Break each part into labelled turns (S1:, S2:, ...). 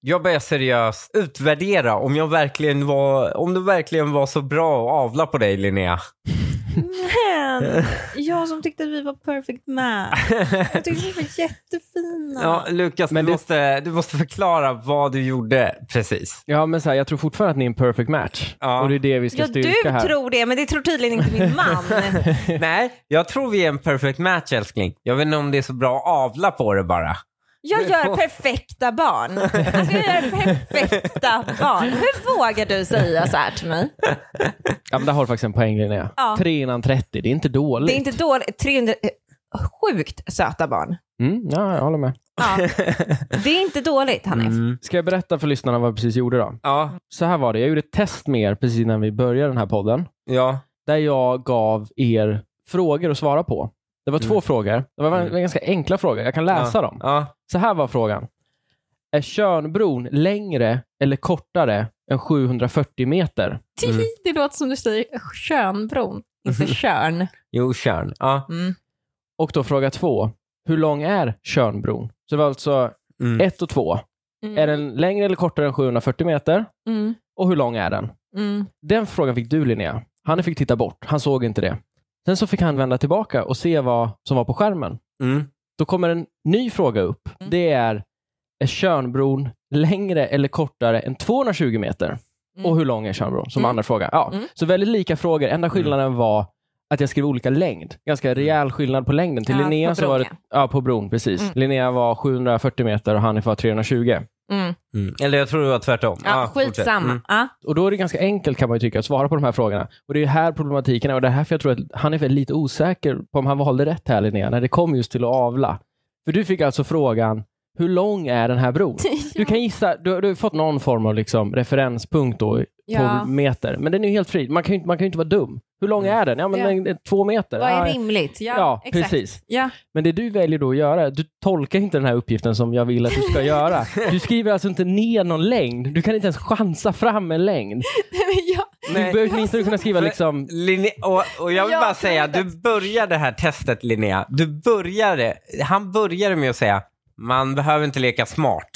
S1: Jag börjar seriöst utvärdera om, jag verkligen var, om det verkligen var så bra att avla på dig Linnea.
S2: Men jag som tyckte att vi var perfect match. Jag tyckte att vi var jättefina.
S1: Ja, Lukas,
S3: Men
S1: du,
S3: det-
S1: måste, du måste förklara vad du gjorde precis.
S3: Ja, men så här, jag tror fortfarande att ni är en perfect match.
S1: Ja.
S3: Och det är det vi ska
S2: Ja,
S3: styrka
S2: du
S3: här.
S2: tror det, men det tror tydligen inte min man.
S1: Nej, jag tror vi är en perfect match älskling. Jag vet inte om det är så bra att avla på det bara.
S2: Jag gör perfekta barn. Alltså jag gör perfekta barn. Hur vågar du säga så här till mig?
S3: Ja, men där har du faktiskt en poäng Linnea.
S2: Ja.
S3: 3 innan 30, det är inte dåligt.
S2: Det är inte dåligt. 300... eh, Sjukt söta barn.
S3: Mm, ja, jag håller med.
S2: Ja. Det är inte dåligt,
S1: Mm.
S2: Hanif.
S3: Ska jag berätta för lyssnarna vad jag precis gjorde då?
S1: Ja,
S3: Så här var det, jag gjorde ett test med er precis innan vi började den här podden.
S1: ja.
S3: Där jag gav er frågor att svara på. Det var två frågor. Det var
S1: Mm.
S3: ganska enkla frågor. Jag kan läsa
S1: ja,
S3: dem.
S1: Ja.
S3: Så här var frågan. Är Tjörnbron längre eller kortare än 740 meter?
S1: Mm.
S2: Det låter som du säger könbron,
S3: Mm.
S2: inte körn.
S1: Jo, Tjörn. Ja.
S2: Mm.
S3: Och då fråga två. Hur lång är Tjörnbron? Så det var alltså
S1: Mm.
S3: ett och två.
S2: Mm.
S3: Är den längre eller kortare än 740 meter?
S2: Mm.
S3: Och hur lång är den?
S2: Mm.
S3: Den frågan fick du Linnea. Han fick titta bort. Han såg inte det. Sen så fick han vända tillbaka och se vad som var på skärmen.
S1: Mm.
S3: Då kommer en ny fråga upp.
S2: Mm.
S3: Det är, är Tjörnbron längre eller kortare än 220 meter?
S2: Mm.
S3: Och hur lång är Tjörnbron? Som
S2: Mm.
S3: andra fråga. Ja.
S2: Mm.
S3: Så väldigt lika frågor. Enda skillnaden var att jag skrev olika längd. Ganska rejäl skillnad på längden. Till
S2: Ja,
S3: Linnea
S2: på
S3: så
S2: bron,
S3: var det... Ja, på bron. Precis.
S2: Mm.
S3: Linnea var 740 meter och Hanif var 320.
S2: Mm.
S1: Mm. Eller jag tror det var tvärtom.
S2: Ja,
S3: Ah,
S1: fortsätt.
S2: skitsamma.
S1: Mm.
S2: Ja.
S3: Och då är det ganska enkelt kan man ju tycka att svara på de här frågorna. Och det är ju här problematiken är och det är därför jag tror att han är väl lite osäker på om han valde rätt här Linnea, när det kom just till att avla. För du fick alltså frågan, hur lång är den här bron? Du kan gissa, du, du har fått någon form av liksom referenspunkt då, på
S2: Ja. Mm.
S3: meter. Men den är ju helt fri, man kan ju, inte- man kan ju inte vara dum. Hur lång är den? Ja men
S2: Ja.
S3: den är två meter.
S2: Vad är
S3: Ja,
S2: rimligt? Ja,
S3: Ja,
S2: exakt.
S3: precis.
S2: Ja.
S3: Men det du väljer då att göra, du tolkar inte den här uppgiften som jag vill att du ska göra. Du skriver alltså inte ner någon längd. Du kan inte ens chansa fram en längd.
S2: ja.
S3: Du bör åtminstone kunna skriva
S1: För-
S3: liksom...
S1: Linne, och, och jag vill
S2: Jag
S1: bara
S2: tror
S1: säga,
S2: inte
S1: du började det här testet Linnea. Du började, han började med att säga, man behöver inte leka smart.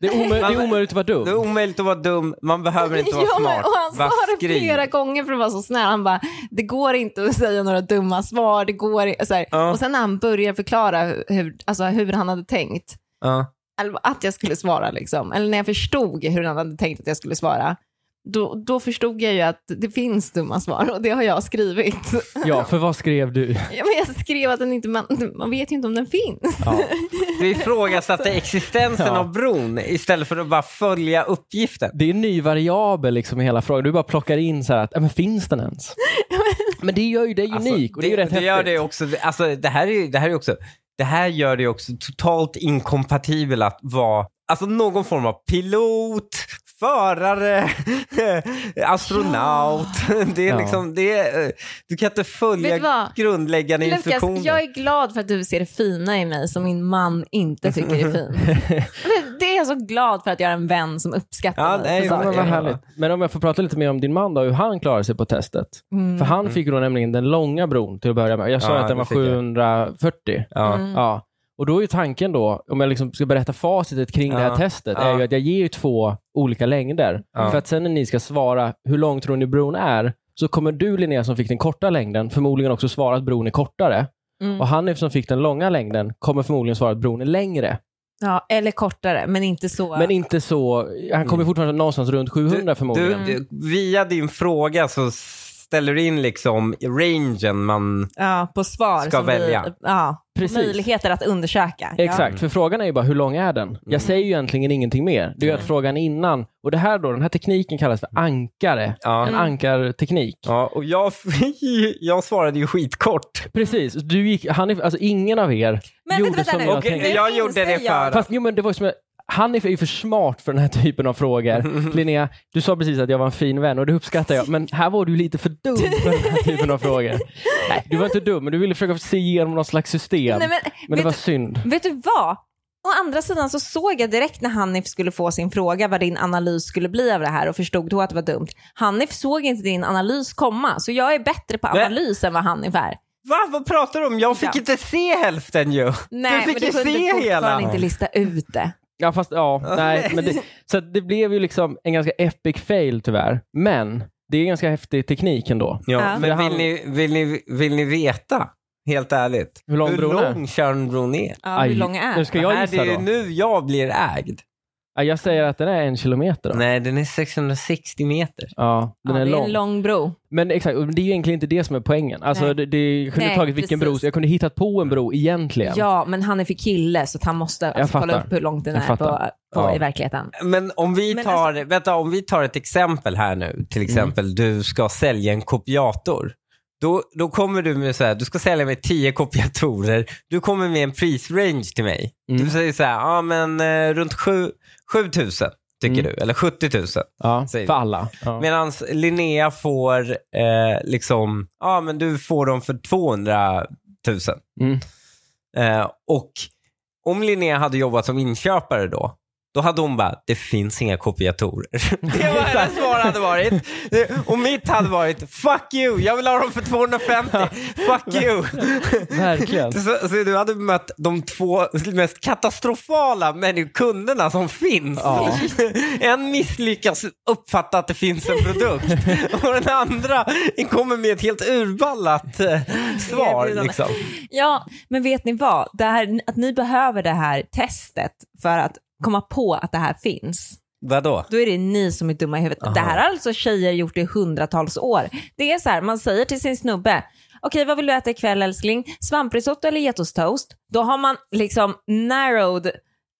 S3: Det är, omö- det är omöjligt att vara
S1: Det är
S3: dum.
S1: omöjligt att vara dum, man behöver inte vara
S4: Ja, men,
S1: smart.
S4: och han
S1: Bara
S4: sa det
S1: skriv.
S4: flera gånger för att vara så snäll. Han bara, det går inte att säga några dumma svar. Det går i-" så här.
S1: Ja.
S4: Och sen när han börjar förklara hur, alltså, hur han hade tänkt,
S1: Ja.
S4: eller att jag skulle svara, liksom. eller när jag förstod hur han hade tänkt att jag skulle svara, då, då förstod jag ju att det finns dumma svar och det har jag skrivit.
S3: Ja, för vad skrev du?
S4: Ja, men jag skrev att den inte, man, man vet ju inte om den finns.
S1: Du ifrågasatte
S4: Alltså.
S1: existensen
S3: Ja.
S1: av bron istället för att bara följa uppgiften.
S3: Det är en ny variabel liksom i hela frågan. Du bara plockar in så här att, ja, men finns den ens? Men det gör ju dig
S1: Alltså,
S3: unik och det är ju rätt
S1: det gör
S3: häftigt.
S1: det också, alltså, det här är ju- det här är också, det här gör det också totalt inkompatibel att vara, alltså någon form av pilot, förare, astronaut. Det är
S3: Ja.
S1: liksom, det är, eh, du kan inte
S4: Vet du
S1: följa
S4: vad?
S1: grundläggande
S4: Lukas,
S1: instruktioner.
S4: jag är glad för att du ser det fina i mig som min man inte tycker är fin. Det- Det är jag så glad för att jag har en vän som uppskattar
S1: Ja,
S4: mig.
S1: nej,
S4: för
S3: Ja,
S4: saker. Mm,
S3: men, vad
S1: Ja.
S3: härligt. men om jag får prata lite mer om din man då, hur han klarade sig på testet.
S4: Mm.
S3: För han fick då nämligen den långa bron till att börja med. Jag sa
S1: Ja,
S3: att den
S1: det
S3: var
S1: fick jag.
S3: 740.
S1: ja.
S4: Mm.
S3: Ja. Och då är ju tanken då, om jag liksom ska berätta facitet kring det här
S1: Ja.
S3: testet,
S1: Ja.
S3: är ju att jag ger ju två olika längder.
S1: Ja.
S3: För att sen när ni ska svara hur lång tror ni bron är, så kommer du Linnea som fick den korta längden förmodligen också svara att bron är kortare.
S4: Mm.
S3: Och han som fick den långa längden kommer förmodligen svara att bron är längre.
S4: Ja, eller kortare, men inte så.
S3: Men inte så, han kommer fortfarande någonstans runt 700 förmodligen.
S1: Mm. Du, du, via din fråga så ställer du in liksom rangen man...
S4: ja, på svar.
S1: Ska
S4: som
S1: välja.
S4: Vi, ja,
S3: Precis.
S4: möjligheter att undersöka.
S3: Exakt, för frågan är ju bara hur lång är den?
S1: Mm.
S3: Jag säger ju egentligen ingenting mer. Det är ju att frågan innan, och det här då, den här tekniken kallas för ankare.
S1: Ja.
S3: En ankarteknik.
S1: Ja, och jag, jag svarade ju skitkort.
S3: Precis, du gick, han är, alltså ingen av er
S4: Men
S3: gjorde
S4: vänta, vänta
S3: som
S4: nu.
S3: jag
S1: Och
S3: tänkte.
S1: jag gjorde det för...
S3: Fast jo, men det var ju som, Hanif är ju för smart för den här typen av frågor. Linnea, du sa precis att jag var en fin vän och det uppskattar jag, men här var du lite för dum för den här typen av frågor. Nej, du var inte dum, men du ville försöka se igenom något slags system.
S4: Nej,
S3: men,
S4: men,
S3: det
S4: vet,
S3: var synd.
S4: du, vet du vad? Å andra sidan så såg jag direkt när Hanif skulle få sin fråga vad din analys skulle bli av det här och förstod då att det var dumt. Hanif såg inte din analys komma, så jag är bättre på
S1: Nej.
S4: analys än vad Hanif är.
S1: Va? Vad pratar du om? Jag fick
S4: Ja.
S1: inte se hälften ju.
S4: Nej,
S1: du fick ju
S4: men du kunde
S1: se
S4: fortfarande
S1: hela.
S4: inte lista ut det.
S3: Ja, fast ja,
S1: Ja.
S3: nej. Men det, så att det blev ju liksom en ganska epic fail tyvärr. Men det är ganska häftig teknik ändå.
S1: Ja,
S4: Ja.
S1: Men
S3: Han-
S1: vill ni, vill, ni, vill ni veta, helt ärligt,
S3: Hur lång
S1: hur
S3: bron är?
S1: lång Tjörnbron är?
S4: Ja,
S3: Aj,
S4: hur lång är
S3: Nu
S4: den?
S3: ska
S1: Det
S3: jag
S1: här,
S3: gissa
S1: det är
S3: då.
S1: ju nu jag blir ägd.
S3: Ja, jag säger att den är en kilometer. Då.
S1: Nej, den är 660 meter.
S3: Ja, den
S4: ja,
S3: är
S4: det
S3: lång.
S4: är en lång bro.
S3: Men exakt, och det är ju egentligen inte det som är poängen. Alltså,
S4: Nej.
S3: det, det jag kunde
S4: Nej,
S3: tagit vilken bro,
S4: precis.
S3: jag kunde hittat på en bro egentligen.
S4: Ja, men han är för kille så att han måste alltså, kolla
S3: fattar.
S4: upp hur lång den
S3: Jag
S4: är på,
S3: fattar.
S4: på
S3: Ja.
S4: i verkligheten.
S1: Men om vi
S4: Men
S1: tar, vänta, om vi tar ett exempel här nu,
S3: Mm.
S1: till exempel du ska sälja en kopiator. Då, då kommer du med så här, du ska sälja mig 10 kopiatorer. Du kommer med en prisrange till mig.
S3: Mm.
S1: Du säger så här, ja men eh, runt 7 7000 tycker
S3: Mm.
S1: du, eller 70 000.
S3: Ja,
S1: Säg
S3: för alla. Ja.
S1: Medan Linnea får, eh, liksom, ja men du får dem för 200 000.
S3: Mm.
S1: Eh, och om Linnea hade jobbat som inköpare då, då hade hon bara, det finns inga kopiatorer. Det var hennes svar hade varit. Och mitt hade varit, fuck you, jag vill ha dem för 250. Fuck you.
S3: Verkligen.
S1: Så, så du hade mött de två mest katastrofala människ- kunderna som finns.
S3: Ja.
S1: En misslyckas uppfatta att det finns en produkt och den andra kommer med ett helt urballat eh, svar.
S4: Erbjudande.
S1: Liksom.
S4: Ja, men vet ni vad? Det här, att ni behöver det här testet för att komma på att det här finns.
S1: Vadå?
S4: Då är det ni som är dumma i huvudet.
S1: Aha.
S4: Det här har alltså tjejer gjort i hundratals år. Det är så här, man säger till sin snubbe, okej vad vill du äta ikväll älskling? Svamprisotto eller getostoast? Då har man liksom narrowed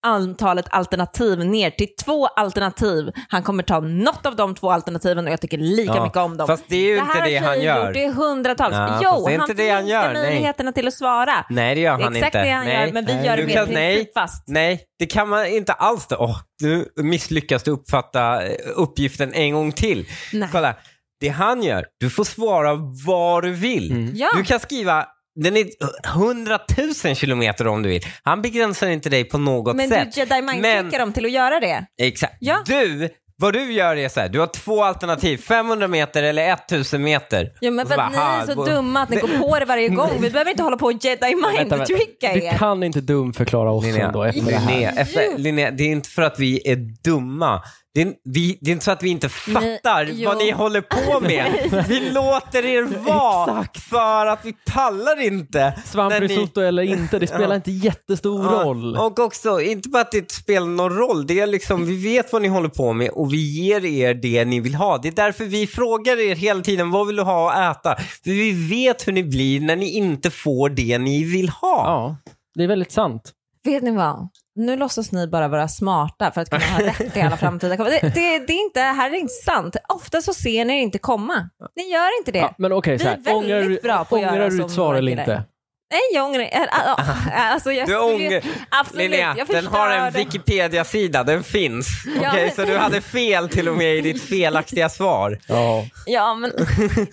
S4: antalet alternativ ner till två alternativ. Han kommer ta något av de två alternativen och jag tycker lika
S1: Ja,
S4: mycket om dem.
S1: Fast det är ju inte
S4: här
S1: det
S4: har
S1: han
S4: tjejer
S1: gör.
S4: gjort i hundratals.
S1: Ja, fast
S4: jo,
S1: det är
S4: han
S1: inte det han
S4: förminskar
S1: gör, nej.
S4: möjligheterna till att svara.
S1: Nej, det gör
S4: Det är
S1: han
S4: exakt
S1: inte.
S4: det han
S1: nej.
S4: gör, men vi
S3: Nej.
S4: gör det
S1: Du
S4: mer
S1: kan- nej.
S4: principfast.
S1: Nej, det kan man inte alls. Det. Åh, du misslyckas du uppfatta eh, uppgiften en gång till.
S4: Nej.
S1: Kolla, det han gör, du får svara vad du vill.
S4: Ja.
S1: Du kan skriva den är 100 000 kilometer om du vill. Han begränsar inte dig på något
S4: Men
S1: sätt.
S4: du jedi mind
S1: Men-
S4: dem till att göra det.
S1: Exakt.
S4: Ja.
S1: Du, vad du gör är så här, du har två alternativ, 500 meter eller 1000 meter.
S4: Ja, men
S1: Och
S4: för
S1: så
S4: att ni
S1: bara,
S4: är
S1: "Ha,
S4: så
S1: bo-
S4: dumma att ni går på det varje gång. Vi behöver inte hålla på och jedi
S3: Vänta,
S4: mind
S3: vänta.
S4: tricka
S3: Du
S4: er.
S3: kan inte dumförklara oss
S1: Linnea,
S3: ändå efter det här.
S1: Linnea, efter, Linnea, det är inte för att vi är dumma. Det är, vi, det är inte så att vi inte fattar
S4: Nej,
S1: vad
S4: jo.
S1: ni håller på med. Vi låter er vara för att vi pallar inte.
S3: Svamprisotto eller inte, det spelar inte jättestor
S1: Ja,
S3: roll.
S1: Och också, inte bara att det inte spelar någon roll. Det är liksom, vi vet vad ni håller på med och vi ger er det ni vill ha. Det är därför vi frågar er hela tiden, vad vill du ha att äta? För vi vet hur ni blir när ni inte får det ni vill ha.
S3: Ja, det är väldigt sant.
S4: Vet ni vad? Nu låtsas ni bara vara smarta för att kunna ha rätt i alla framtida kom- det, det, det är inte, det här är inte sant. Ofta så ser ni det inte komma. Ni gör inte det.
S3: Ja, men okej, så här.
S4: Vi är
S3: ångrar du
S4: väldigt bra på att göra
S3: ångrar du
S4: som
S3: ditt svar
S4: våra
S3: eller
S4: killar.
S3: inte?
S4: Nej, jag ångrar äh,
S3: Ah.
S4: äh, äh, Alltså, jag
S1: Du
S4: skulle ju-
S1: ångrar...
S4: Absolut,
S1: Linnea,
S4: jag
S1: den har en
S4: förstörde.
S1: Wikipedia-sida, den finns. Okej,
S4: Ja.
S1: så du hade fel till och med i ditt felaktiga svar.
S3: Ja.
S4: Ja, men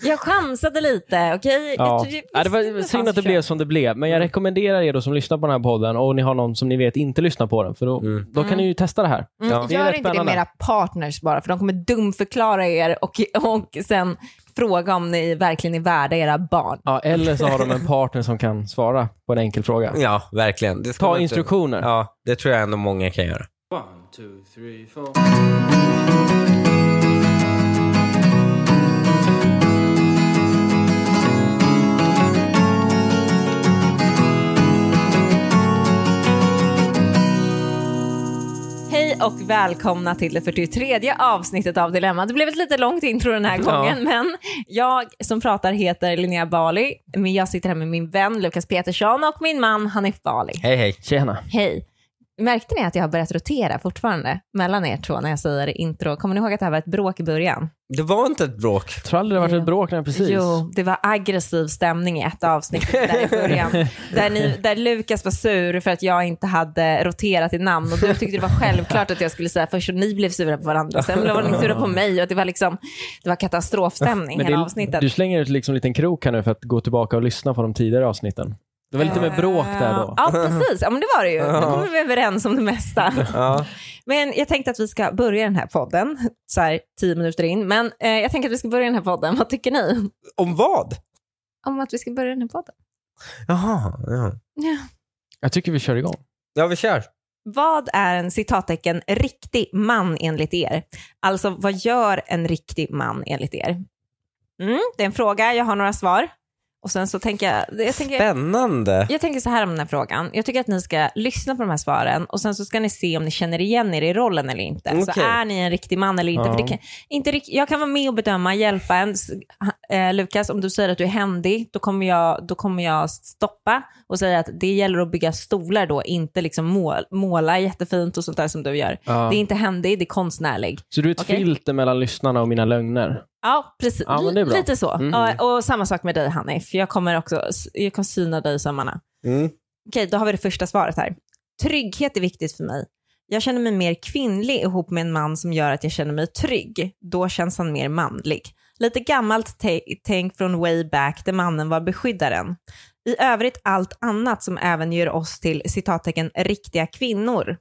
S4: jag chansade lite, okej? Jag
S3: Ja.
S4: tror- jag
S3: Ja, det
S4: visste
S3: var
S4: inte
S3: synd
S4: fanns
S3: att det
S4: kön.
S3: blev som det blev, men jag
S4: Mm.
S3: rekommenderar er då som lyssnar på den här podden och ni har någon som ni vet inte lyssnar på den, för då,
S1: Mm.
S3: då kan ni ju testa det här.
S4: Mm,
S1: Ja.
S3: Det är
S4: Gör
S3: rätt
S4: inte det
S3: spännande.
S4: med era partners bara, för de kommer dumförklara er och, och sen fråga om ni verkligen är värda era barn.
S3: Ja, eller så har de en partner som kan svara på en enkel fråga.
S1: Ja, verkligen. Det ska man
S3: Ta
S1: inte-
S3: instruktioner.
S1: Ja, det tror jag ändå många kan göra.
S5: One, two, three, four.
S4: Hej och välkomna till det 43 avsnittet av Dilemma. Det blev ett lite långt intro den här gången, men jag som pratar heter Linnea Bali. Men jag sitter här med min vän Lukas Petersson och min man Hanif Bali.
S1: Hej, hej.
S3: Tjena.
S4: Hej! Märkte ni att jag har börjat rotera fortfarande mellan er två när jag säger intro? Kommer ni ihåg att det här var ett bråk i början?
S1: Det var inte ett bråk.
S3: Jag tror aldrig det har varit ett
S4: Jo.
S3: bråk när precis.
S4: Jo, det var aggressiv stämning i ett avsnitt där i början. där, ni, där Lukas var sur för att jag inte hade roterat i namn och du tyckte det var självklart att jag skulle säga först och ni blev sura på varandra. Sen blev ni sura på mig och att det var liksom, det var katastrofstämning
S3: Men
S4: hela
S3: det,
S4: avsnittet.
S3: du slänger ut liksom en liten krok här nu för att gå tillbaka och lyssna på de tidigare avsnitten. Det var lite mer bråk där då.
S4: Ja, precis. Ja, men det var det ju. Nu kommer vi överens om det mesta.
S1: Ja.
S4: Men jag tänkte att vi ska börja den här podden, så här tio minuter in. Men eh, jag tänker att vi ska börja den här podden. Vad tycker ni
S1: Om vad?
S4: om att vi ska börja den här podden?
S1: Jaha, ja.
S4: Ja.
S3: Jag tycker vi kör igång.
S1: Ja, vi kör.
S4: Vad är en citattecken riktig man enligt er? Alltså, vad gör en riktig man enligt er? Mm, det är en fråga, jag har några svar. Och sen så tänker jag, jag tänker,
S1: Spännande.
S4: jag tänker så här om den här frågan. Jag tycker att ni ska lyssna på de här svaren och sen så ska ni se om ni känner igen er i rollen eller inte. Så
S1: Okej.
S4: är ni en riktig man eller inte?
S3: Ja.
S4: För det kan, inte rikt- jag kan vara med och bedöma, hjälpa en. S- Eh, Lukas, om du säger att du är händig, då kommer, jag, då kommer jag stoppa och säga att det gäller att bygga stolar då, inte liksom mål, måla jättefint och sånt där som du gör.
S3: Ja.
S4: Det är inte händig, det är konstnärlig.
S3: Så du är ett
S4: Okej.
S3: filter mellan lyssnarna och mina lögner.
S4: Ja, precis.
S3: Ja, men det är bra.
S4: Lite så.
S3: Mm.
S4: Ja, Och, samma sak med dig Hanif. Jag kommer också jag kommer syna dig som Anna.
S1: Mm.
S4: Okej, då har vi det första svaret här. Trygghet är viktigt för mig. Jag känner mig mer kvinnlig ihop med en man som gör att jag känner mig trygg. Då känns han mer manlig. Lite gammalt te- tänk från way back där mannen var beskyddaren. I övrigt allt annat som även gör oss till citattecken riktiga kvinnor.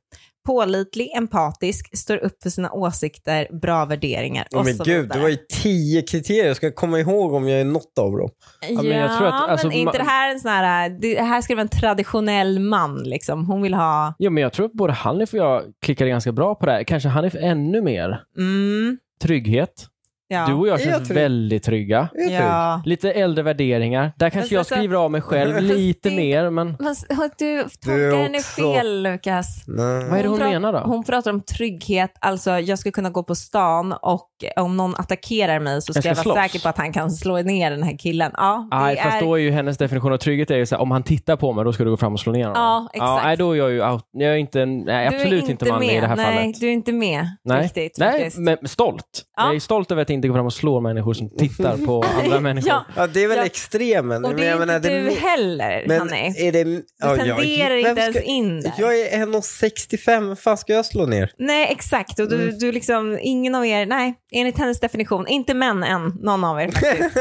S4: Pålitlig, empatisk, står upp för sina åsikter, bra värderingar och
S1: Åh men
S4: så
S1: gud,
S4: vidare.
S1: det var ju tio kriterier. Ska jag komma ihåg om jag är något av dem?
S4: Ja,
S3: men
S4: men,
S3: jag tror att, alltså,
S4: är inte
S3: ma-
S4: det här en sån här, det här ska vara en traditionell man liksom. Hon vill ha,
S3: Ja, men jag tror att både Hanif och jag klickade ganska bra på det här. Kanske Hanif ännu mer.
S4: mm,
S3: Trygghet.
S4: ja.
S3: Du och jag
S1: Är jag
S3: känns
S1: trygg?
S3: väldigt trygga.
S1: Är jag trygg?
S4: ja.
S3: Lite äldre värderingar. Där kanske
S4: Fast
S3: jag
S4: alltså-
S3: skriver av mig själv lite
S4: det-
S3: mer, men
S4: Men s- har du
S1: Du
S4: tolkar
S1: är
S4: henne
S1: också-
S4: fel Lukas.
S1: Nej.
S3: vad är det hon
S4: Hon pra-
S3: menar då?
S4: Hon pratar om trygghet, alltså jag ska kunna gå på stan och om någon attackerar mig så ska
S3: ska
S4: jag, vara
S3: slåss.
S4: säker på att han kan slå ner den här killen. Ja, det
S3: Nej, fast
S4: är...
S3: då är ju hennes definition av trygghet är ju så här, om han tittar på mig då ska du gå fram och slå ner honom.
S4: Ja, exakt.
S3: nej, då är jag ju out. Jag är inte, nej,
S4: du är
S3: absolut inte manlig
S4: med.
S3: i det här
S4: Nej,
S3: fallet.
S4: du är inte med
S3: Nej,
S4: riktigt
S3: nej
S4: faktiskt.
S3: men stolt.
S4: Ja.
S3: Jag är stolt över att inte gå fram och slå människor som tittar på andra människor.
S4: Ja,
S1: Ja, det är väl
S4: Ja.
S1: extremen.
S4: och
S1: Men
S4: det är
S1: jag menar,
S4: inte
S1: det är
S4: du
S1: mi-
S4: heller,
S1: Men
S4: Hanif.
S1: är det...
S4: Du
S1: ja, jag-
S4: tenderar
S1: vem
S4: inte ens
S1: ska-
S4: in där.
S1: Jag är 1,65. Vad fan ska jag slå ner?
S4: Nej, exakt. Och
S1: Mm.
S4: du, du liksom, ingen av er, nej, enligt hennes definition, inte män än, någon av er faktiskt.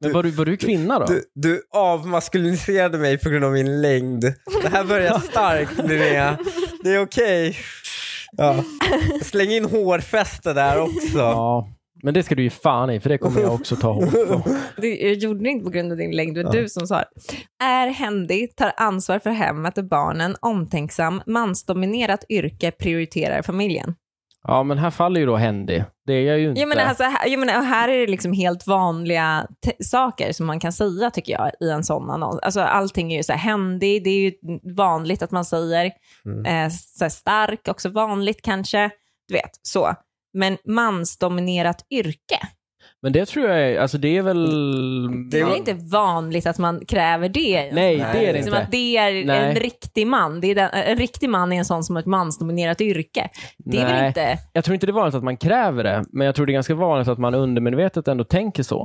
S3: Men var du, var du kvinna då?
S1: Du, du avmaskuliniserade mig på grund av min längd. Det här börjar starkt Linnea. Det är okej. Ja. Släng in hårfäste där också.
S3: Ja, men det ska du ju fan i för det kommer jag också ta hårt på.
S4: Det jag gjorde det inte på grund av din längd, det var du som sa det. Är händig, tar ansvar för hemmet och barnen, omtänksam, mansdominerat yrke, prioriterar familjen.
S3: Ja, men här faller ju då Hendy. Det är jag ju inte.
S4: Jag menar, alltså, här, jag menar, och här är det liksom helt vanliga te- saker som man kan säga tycker jag i en sån annons. Alltså, allting är ju så här händig, det är ju vanligt att man säger. Eh, så här stark, också vanligt kanske. Du vet, så. Men mansdominerat yrke.
S3: Men det tror jag är, alltså det är väl...
S1: Det
S4: Det är
S1: var-
S4: väl inte vanligt att man kräver det?
S3: Nej,
S1: Nej,
S3: det är det
S4: Liksom
S3: inte.
S4: att det är
S3: Nej.
S4: en riktig man. Det är den, en riktig man är en sån som har ett mansdominerat yrke. Det är
S3: Nej.
S4: väl inte...
S3: Jag tror inte det är vanligt att man kräver det, men jag tror det är ganska vanligt att man undermedvetet ändå tänker så.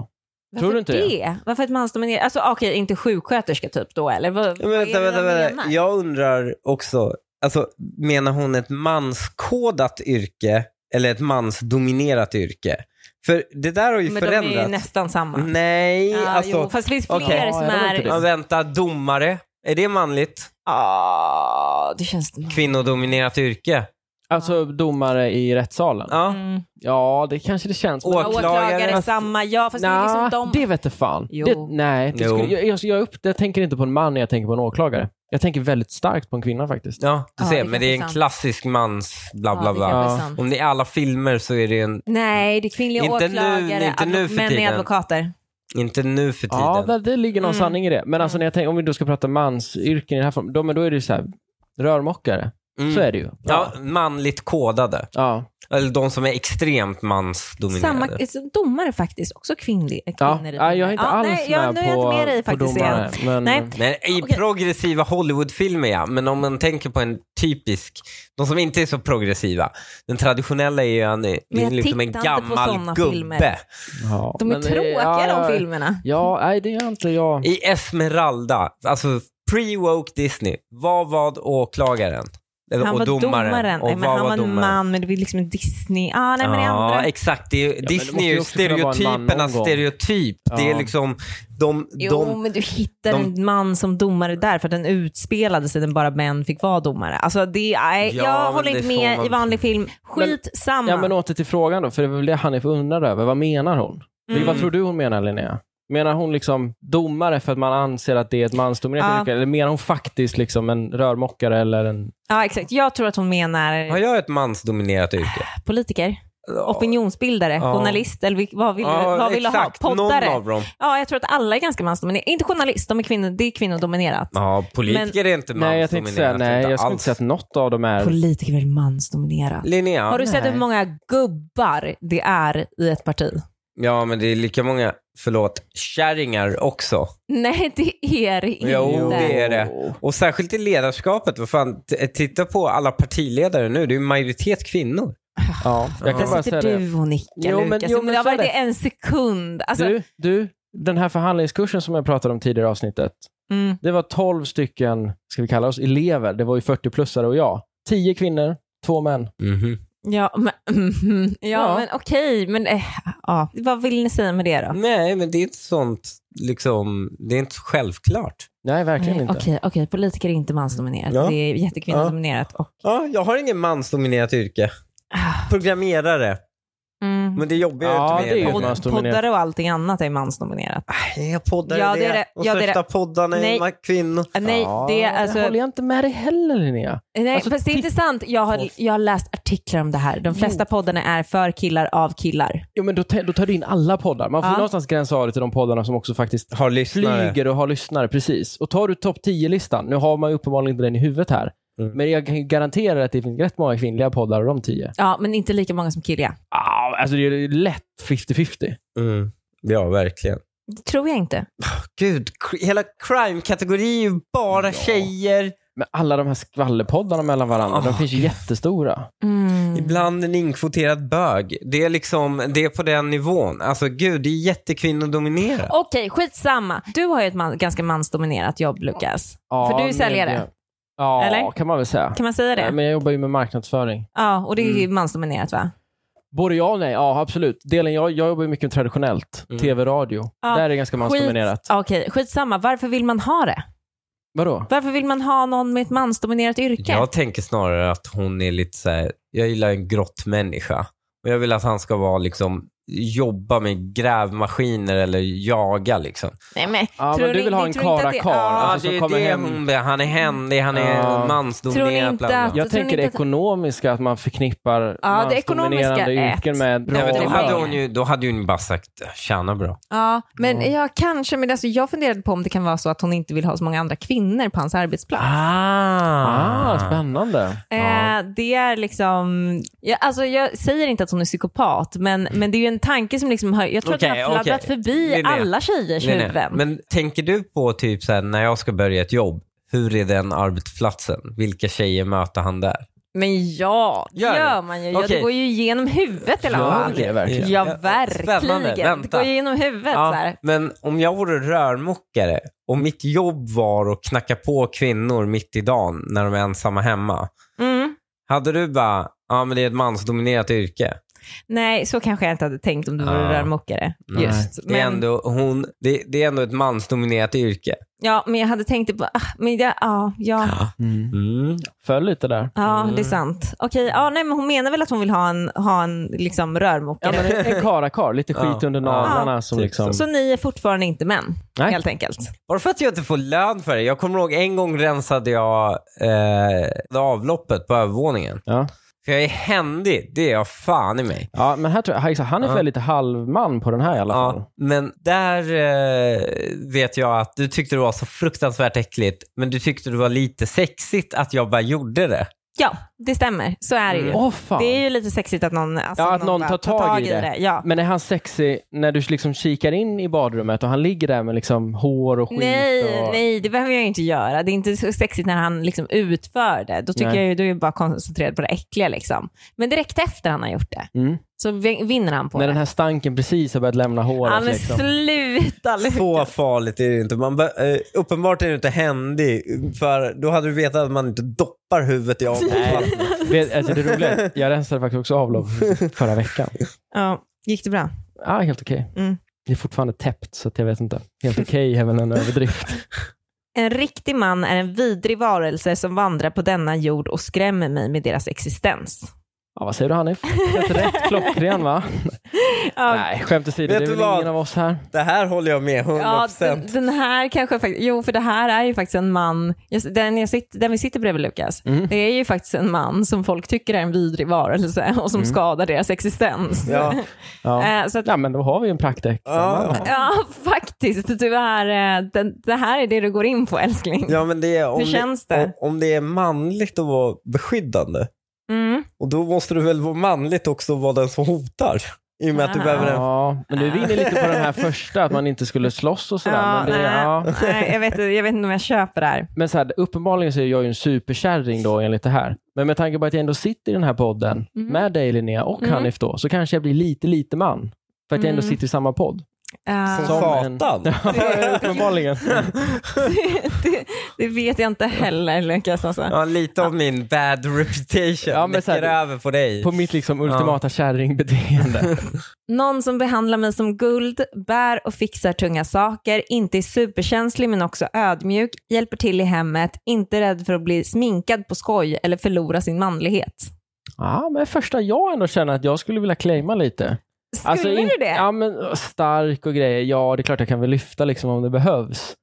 S4: Varför
S3: tror du inte
S4: det?
S3: det?
S4: Varför ett mansdominerat... Alltså okej, inte sjuksköterska typ då eller? Vad,
S1: Men
S4: vad
S1: vänta,
S4: är det
S1: vänta,
S4: de
S1: vänta.
S4: menar?
S1: Jag undrar också, alltså, menar hon ett manskodat yrke eller ett mansdominerat yrke? För det där har ju
S4: Men de är ju
S1: förändrats.
S4: nästan samma.
S1: Nej,
S4: Ja,
S1: alltså.
S4: jo, fast det finns fler
S1: okej. Ja,
S4: som
S3: jag vet
S4: är...
S3: inte
S1: Ja,
S4: Ja,
S3: det.
S1: vänta, domare. Är det manligt?
S4: Mm. det känns...
S1: Kvinnodominerat yrke?
S3: Alltså domare i rättssalen. Ja,
S1: Ja.
S4: Mm.
S3: det kanske det känns. men-
S1: Åh, Åklagare.
S4: Åklagare, samma. Ja, fast det är
S3: Nja,
S4: liksom de...
S3: det vete fan.
S4: Jo.
S3: Det, nej, det
S1: Jo.
S3: skulle, jag, jag, jag, upp, jag tänker inte på en man när jag tänker på en åklagare. Jag tänker väldigt starkt på en kvinna faktiskt.
S1: Ja, du
S4: Ja,
S1: ser.
S4: det
S1: men
S4: kanske
S1: det är
S4: är
S1: en
S4: sant.
S1: klassisk mans bla bla
S4: Ja, det
S1: bla.
S4: kanske är
S3: Ja.
S4: sant.
S1: Om det är alla filmer så är det en,
S4: Nej, det är kvinnliga
S1: Inte nu-
S4: åklagare,
S1: inte nu
S4: advo-
S1: för
S4: män
S1: tiden.
S4: är advokater.
S1: inte nu för tiden.
S3: Ja, det, det ligger någon
S4: Mm.
S3: sanning i det. Men alltså, när jag tänker, om vi då ska prata mansyrken i det här formen, då, men då är det ju så här, rörmokare.
S1: Mm.
S3: Så är det ju.
S1: Ja, manligt kodade.
S3: ja.
S1: Eller de som är extremt
S4: Samma, alltså,
S1: mansdominerade.
S4: domare faktiskt, också kvinnlig, eh,
S3: Ja.
S4: kvinnor. i
S3: ja, jag är inte
S4: Ja,
S3: alls
S4: nej, jag,
S3: med
S4: nu är
S3: på,
S4: jag inte med dig
S3: på
S4: faktiskt
S3: domare. Mm.
S4: igen.
S3: Men,
S4: Nej.
S1: Nej, I
S4: Okej.
S1: progressiva Hollywoodfilmer ja, men om man tänker på en typisk, de som inte är så progressiva. Den traditionella är ju en, det är
S4: jag
S1: liksom en
S4: tittar inte på
S1: gammal
S4: såna
S1: gubbe.
S4: filmer.
S3: Ja,
S4: De är
S3: men, eh,
S4: tråkiga
S3: ja, ja,
S4: de filmerna.
S3: Ja, nej, det är inte jag.
S1: I Esmeralda, alltså pre-woke Disney, vad var åklagaren? Eller,
S4: Han
S1: och
S4: var domaren,
S1: Och
S4: nej, men
S1: vad
S4: han var en
S1: domaren?
S4: man, men det var liksom en Disney. Ah, nej, men det
S1: ja,
S4: andra.
S1: exakt. Det är,
S3: det måste
S1: Disney är
S3: ju
S1: ju
S3: också kunna vara en man någon
S1: stereotypernas
S3: gång.
S1: stereotyp. Det
S3: Ja.
S1: är liksom de...
S4: Jo,
S1: de
S4: men du hittar
S1: de-
S4: en man som domare där för att den utspelade sig den bara män fick vara domare. Alltså det, nej,
S1: Ja, men
S4: jag håller
S1: det
S4: inte
S1: får
S4: med
S1: man-
S4: i vanlig film. Skitsamma.
S1: Mm. Mm.
S3: Ja, men åter till frågan då, för det var väl det Hanif undrade över. Vad menar hon? Det- Vad tror du hon menar Linnea? Menar hon liksom domare för att man anser att det är ett mansdominerat
S4: Ja.
S3: yrke? Eller menar hon faktiskt liksom en rörmokare eller en...
S4: Ja, exakt. Jag tror att hon menar
S1: Har jag ett mansdominerat yrke?
S4: politiker, opinionsbildare,
S1: Ja.
S4: journalist eller vil- vad vill,
S1: Ja,
S4: vad vill du ha?
S1: exakt.
S4: Poddare?
S1: Någon av dem.
S4: Ja, jag tror att alla är ganska mansdominerade. Inte journalist, de är kvinnor, det är kvinnodominerat.
S1: Ja, politiker är inte mansdominerat.
S3: Nej, jag tänkte säga, nej, jag skulle inte
S1: alls.
S3: säga att något av dem är...
S4: Politiker är väl mansdominerat?
S1: Linnea,
S4: Har du sett
S3: Nej.
S4: hur många gubbar det är i ett parti?
S1: ja men det är lika många, förlåt, kärringar också.
S4: Nej, det är det inte.
S1: Jo, det är det. Och särskilt i ledarskapet, vad fan, t- titta på alla partiledare nu, det är ju majoritet kvinnor.
S3: Ja, jag
S1: Ja.
S3: kan bara säga
S4: Sitter
S3: det.
S4: du och nickar
S3: Jo, men-
S4: Lukas,
S3: jo,
S4: men
S3: men
S4: det har
S3: så är
S4: varit det en sekund. Alltså,
S3: Du, du, den här förhandlingskursen som jag pratade om tidigare i avsnittet.
S4: mm,
S3: Det var 12 stycken, ska vi kalla oss elever, det var ju 40-plussare och jag. 10 kvinnor, två män.
S4: ja, men, mm, ja,
S3: Ja.
S4: men okej, men eh, ja. vad vill ni säga med det då?
S1: Nej, men det är inte sånt, liksom, det är inte så självklart.
S3: Nej, verkligen
S4: Nej,
S3: inte.
S4: Eh, Okej, okej, politiker är inte mansdominerat.
S1: Ja.
S4: Det är jättekvinnodominerat. Och,
S1: Ja, jag har ingen mansdominerat yrke.
S4: Ah.
S1: Programmerare,
S4: mm,
S1: men det jobbar jag
S3: Ja,
S1: inte med.
S3: det är ju
S1: egentligen.
S3: mansdominerat.
S4: poddare och allting annat är mansdominerat.
S1: Nej, jag poddar
S4: Ja,
S1: det.
S4: det är det.
S1: De
S4: Ja, det är
S1: största
S4: det.
S1: poddarna är
S4: Nej.
S1: ma- kvinnor.
S4: Eh, Nej, det, är alltså,
S3: det håller jag inte med dig heller Linnea.
S4: nej
S3: Alltså,
S4: fast det är
S3: titt-
S4: intressant. Jag har, jag har läst artiklar om det här. De flesta poddarna är för killar av killar.
S3: Jo, men då, te- då tar du in alla poddar. Man får
S4: Ja.
S3: någonstans gränsa av det till de poddarna som också faktiskt
S1: Har lyssnare.
S3: flyger och har lyssnare. Precis. Och tar du topp 10-listan, nu har man ju uppenbarligen inte den i huvudet här,
S1: Mm.
S3: men jag kan ju garantera att det finns rätt många kvinnliga poddar av de 10.
S4: Ja, men inte lika många som killiga.
S3: Ah, alltså det är ju lätt 50-50.
S1: Mm. Ja, verkligen.
S4: Det tror jag inte.
S1: Gud, cr- hela crime-kategorin är ju bara tjejer.
S4: Mm.
S3: Men alla de här skvallerpoddarna mellan varandra, de
S1: Ah.
S3: finns ju jättestora.
S4: Mm.
S1: Ibland en inkvoterad bög. Det är liksom, det är på den nivån. Alltså gud, det är jättekvinnodominerat.
S4: Okej, skitsamma. Du har ju ett man, ganska mansdominerat jobb, Lukas.
S3: Ja,
S4: För du är
S3: men
S4: säljare.
S3: det- Ja,
S4: Eller?
S3: kan man väl säga.
S4: Kan man säga det?
S3: Nej,
S4: Ja, Mm.
S3: men jag jobbar ju med marknadsföring.
S4: och det är ju mansdominerat va?
S3: Både ja och nej. Ja, absolut. Delen jag, jag jobbar ju mycket med traditionellt.
S1: Mm.
S3: Tv, radio.
S4: Ja,
S3: Där är det ganska mansdominerat.
S4: Skit, okej, skitsamma. Varför vill man ha det?
S3: Vadå?
S4: Varför vill man ha någon med ett mansdominerat yrke?
S1: Jag tänker snarare att hon är lite så här, jag gillar en grottmänniska. Och jag vill att han ska vara liksom, jobba med grävmaskiner eller jaga liksom.
S4: Nej, men,
S3: Ja,
S4: Tror
S3: men du
S4: ni-
S3: vill ha
S4: ni
S3: en
S4: tror inte att det-
S3: karakar
S4: ja.
S3: alltså, som kommer hem.
S1: hon blir. Han är händig, han är
S3: Ja.
S1: mansdominerad.
S4: Tror ni inte
S1: bla, bla.
S4: att-
S3: Jag
S4: Tror
S3: tänker
S4: ni
S3: det
S4: inte att-
S3: ekonomiska, att man förknippar
S4: Ja, det
S3: mansdominerande
S4: ekonomiska,
S3: yrken
S4: ett.
S3: med bra
S1: Nej, men då,
S4: det
S1: hade
S4: var-
S1: hon ju, då hade hon ju bara sagt tjäna bra.
S4: ja, men
S3: Ja.
S4: jag kanske, men alltså, jag funderade på om det kan vara så att hon inte vill ha så många andra kvinnor på hans arbetsplats.
S1: Ah,
S3: Ah, spännande.
S4: Eh, det är liksom, jag, alltså jag säger inte att hon är psykopat, men, men det är ju en tanke som liksom har, jag tror att
S1: Mm. Okej,
S4: den har fladdrat
S1: okej.
S4: förbi
S1: Linnea.
S4: alla tjejers
S1: Nej, nej.
S4: huvuden.
S1: Men tänker du på typ så här, när jag ska börja ett jobb, hur är den arbetsplatsen? Vilka tjejer möter han där?
S4: Men ja, det
S1: Gör
S4: gör,
S1: det?
S4: man ju. Ja,
S1: Okej.
S4: det går ju igenom huvudet i alla
S3: Ja,
S4: fall.
S3: det är verkligen.
S4: Ja,
S1: Ja, Eh, spännande.
S4: verkligen. Det
S1: Vänta.
S4: går ju genom huvudet. Så här.
S1: men om jag vore rörmokare och mitt jobb var att knacka på kvinnor mitt i dagen när de är ensamma hemma.
S4: Mm.
S1: Hade du bara, ja men det är ett mansdominerat yrke.
S4: Nej, så kanske jag inte hade tänkt om du vore
S1: Ja.
S4: rörmokare.
S1: Nej.
S4: Just.
S1: Det är,
S4: Men-
S1: ändå, hon, det, det är ändå ett mansdominerat yrke.
S4: Ja, men jag hade tänkt på, ah, men det, ja, ja,
S3: Mm.
S1: Mm.
S3: Föll lite där.
S4: ja,
S1: Mm.
S4: det är sant. Okej, ja, nej, men hon menar väl att hon vill ha en, ha en liksom,
S3: Ja,
S4: rörmokare.
S3: men en- en karakar, lite skit
S1: Ja.
S3: under naglarna
S1: Ja,
S3: som
S1: typ
S3: liksom...
S4: Så ni är fortfarande inte män,
S3: Nej.
S4: helt enkelt.
S1: Bara för att jag inte får lön för det. Jag kommer ihåg en gång rensade jag eh, avloppet på övervåningen.
S3: Ja.
S1: För jag är händig, det är jag fan i mig.
S3: Ja, men här tror jag, här- han är
S1: Ja.
S3: väl lite halvman på den här i alla fall.
S1: Ja, men där eh, vet jag att du tyckte det var så fruktansvärt äckligt, men du tyckte det var lite sexigt att jag bara gjorde det.
S4: Ja, det stämmer. Så är det ju.
S3: Mm. Åh fan.
S4: Det är ju lite sexigt att någon, alltså,
S3: Ja, att någon
S4: bara
S3: tar tag i det.
S4: Ja.
S3: Men är han sexig när du liksom kikar in i badrummet och han ligger där med liksom hår och skit?
S4: Nej,
S3: och...
S4: nej, det behöver jag ju inte göra. Det är inte så sexigt när han liksom utför det. Då tycker
S3: Nej.
S4: jag ju, då är jag bara koncentrerad på det äckliga. Liksom. Men direkt efter han har gjort det
S3: Mm.
S4: så vin- vinner han på
S3: När
S4: det.
S3: den här stanken precis har börjat lämna håret.
S4: han är
S3: liksom.
S4: sluta
S1: Så
S4: Lukas.
S1: farligt är det inte. Man be- eh, uppenbart är det inte händig, för då hade du vetat att man inte doppar huvudet i avloppsvattnet.
S3: Vet, alltså, det roliga är att jag rensade faktiskt också avlopp förra veckan.
S4: Ja, gick det bra?
S3: Ja, helt okej.
S4: Mm.
S3: Det är fortfarande täppt, så att jag vet inte. Helt okej är väl en överdrift.
S4: En riktig man är en vidrig varelse som vandrar på denna jord och skrämmer mig med deras existens.
S3: Ja, vad säger du Hanif? Helt rätt klockren va? Nej, skämt åsido, det
S1: Vet
S3: är
S1: du
S3: väl
S1: vad?
S3: ingen av oss här.
S1: Det här håller jag med 100%.
S4: Ja, den, den här kanske faktiskt, jo för det här är ju faktiskt en man, jag- den, jag sitter, den vi sitter bredvid Lukas,
S3: Mm.
S4: det är ju faktiskt en man som folk tycker är en vidrig varelse och som skadar deras existens.
S1: Ja.
S3: Mm. Ja.
S4: Eh, Så att,
S3: ja, men då har vi en praktäkt.
S1: Ja.
S4: ja faktiskt, du är, eh, den, det här är det du går in på älskling.
S1: Ja, men det är, om,
S4: Hur känns det?
S1: Om, om det är manligt att vara beskyddande,
S4: Mm.
S1: och då måste du väl vara manligt också att vara den som hotar? I och med att du
S4: Ah.
S1: behöver en...
S3: Ja, men nu är vi inne lite på den här första, att man inte skulle slåss och sådär.
S4: Ja,
S3: men det,
S4: nej,
S3: ja.
S4: nej, jag, vet, jag vet inte om jag köper det här.
S3: Men så här, uppenbarligen så är jag ju en superkärring då enligt det här. Men med tanke på att jag ändå sitter i den här podden med dig Linnea och
S4: Mm.
S3: Hanif då, så kanske jag blir lite lite man. För att jag ändå
S4: Mm.
S3: sitter i samma podd.
S4: Eh,
S1: Som
S3: Som en-
S1: satan.
S3: Ja, uppenbarligen.
S4: det, det vet jag inte heller Lukas. Alltså.
S1: Ja, lite av min bad reputation
S3: Ja,
S1: ja,
S3: men
S1: läcker
S3: så här-
S1: över på dig.
S3: På mitt liksom ultimata kärringbeteende.
S4: Någon som behandlar mig som guld, bär och fixar tunga saker, inte är superkänslig men också ödmjuk, hjälper till i hemmet, inte rädd för att bli sminkad på skoj eller förlora sin manlighet.
S3: Ja, men första jag ändå känner att jag skulle vilja claima lite. Alltså,
S4: Skulle
S3: in-
S4: du det? Ja.
S3: Ja, men stark och grejer. Ja, det är klart jag kan väl lyfta liksom om det behövs.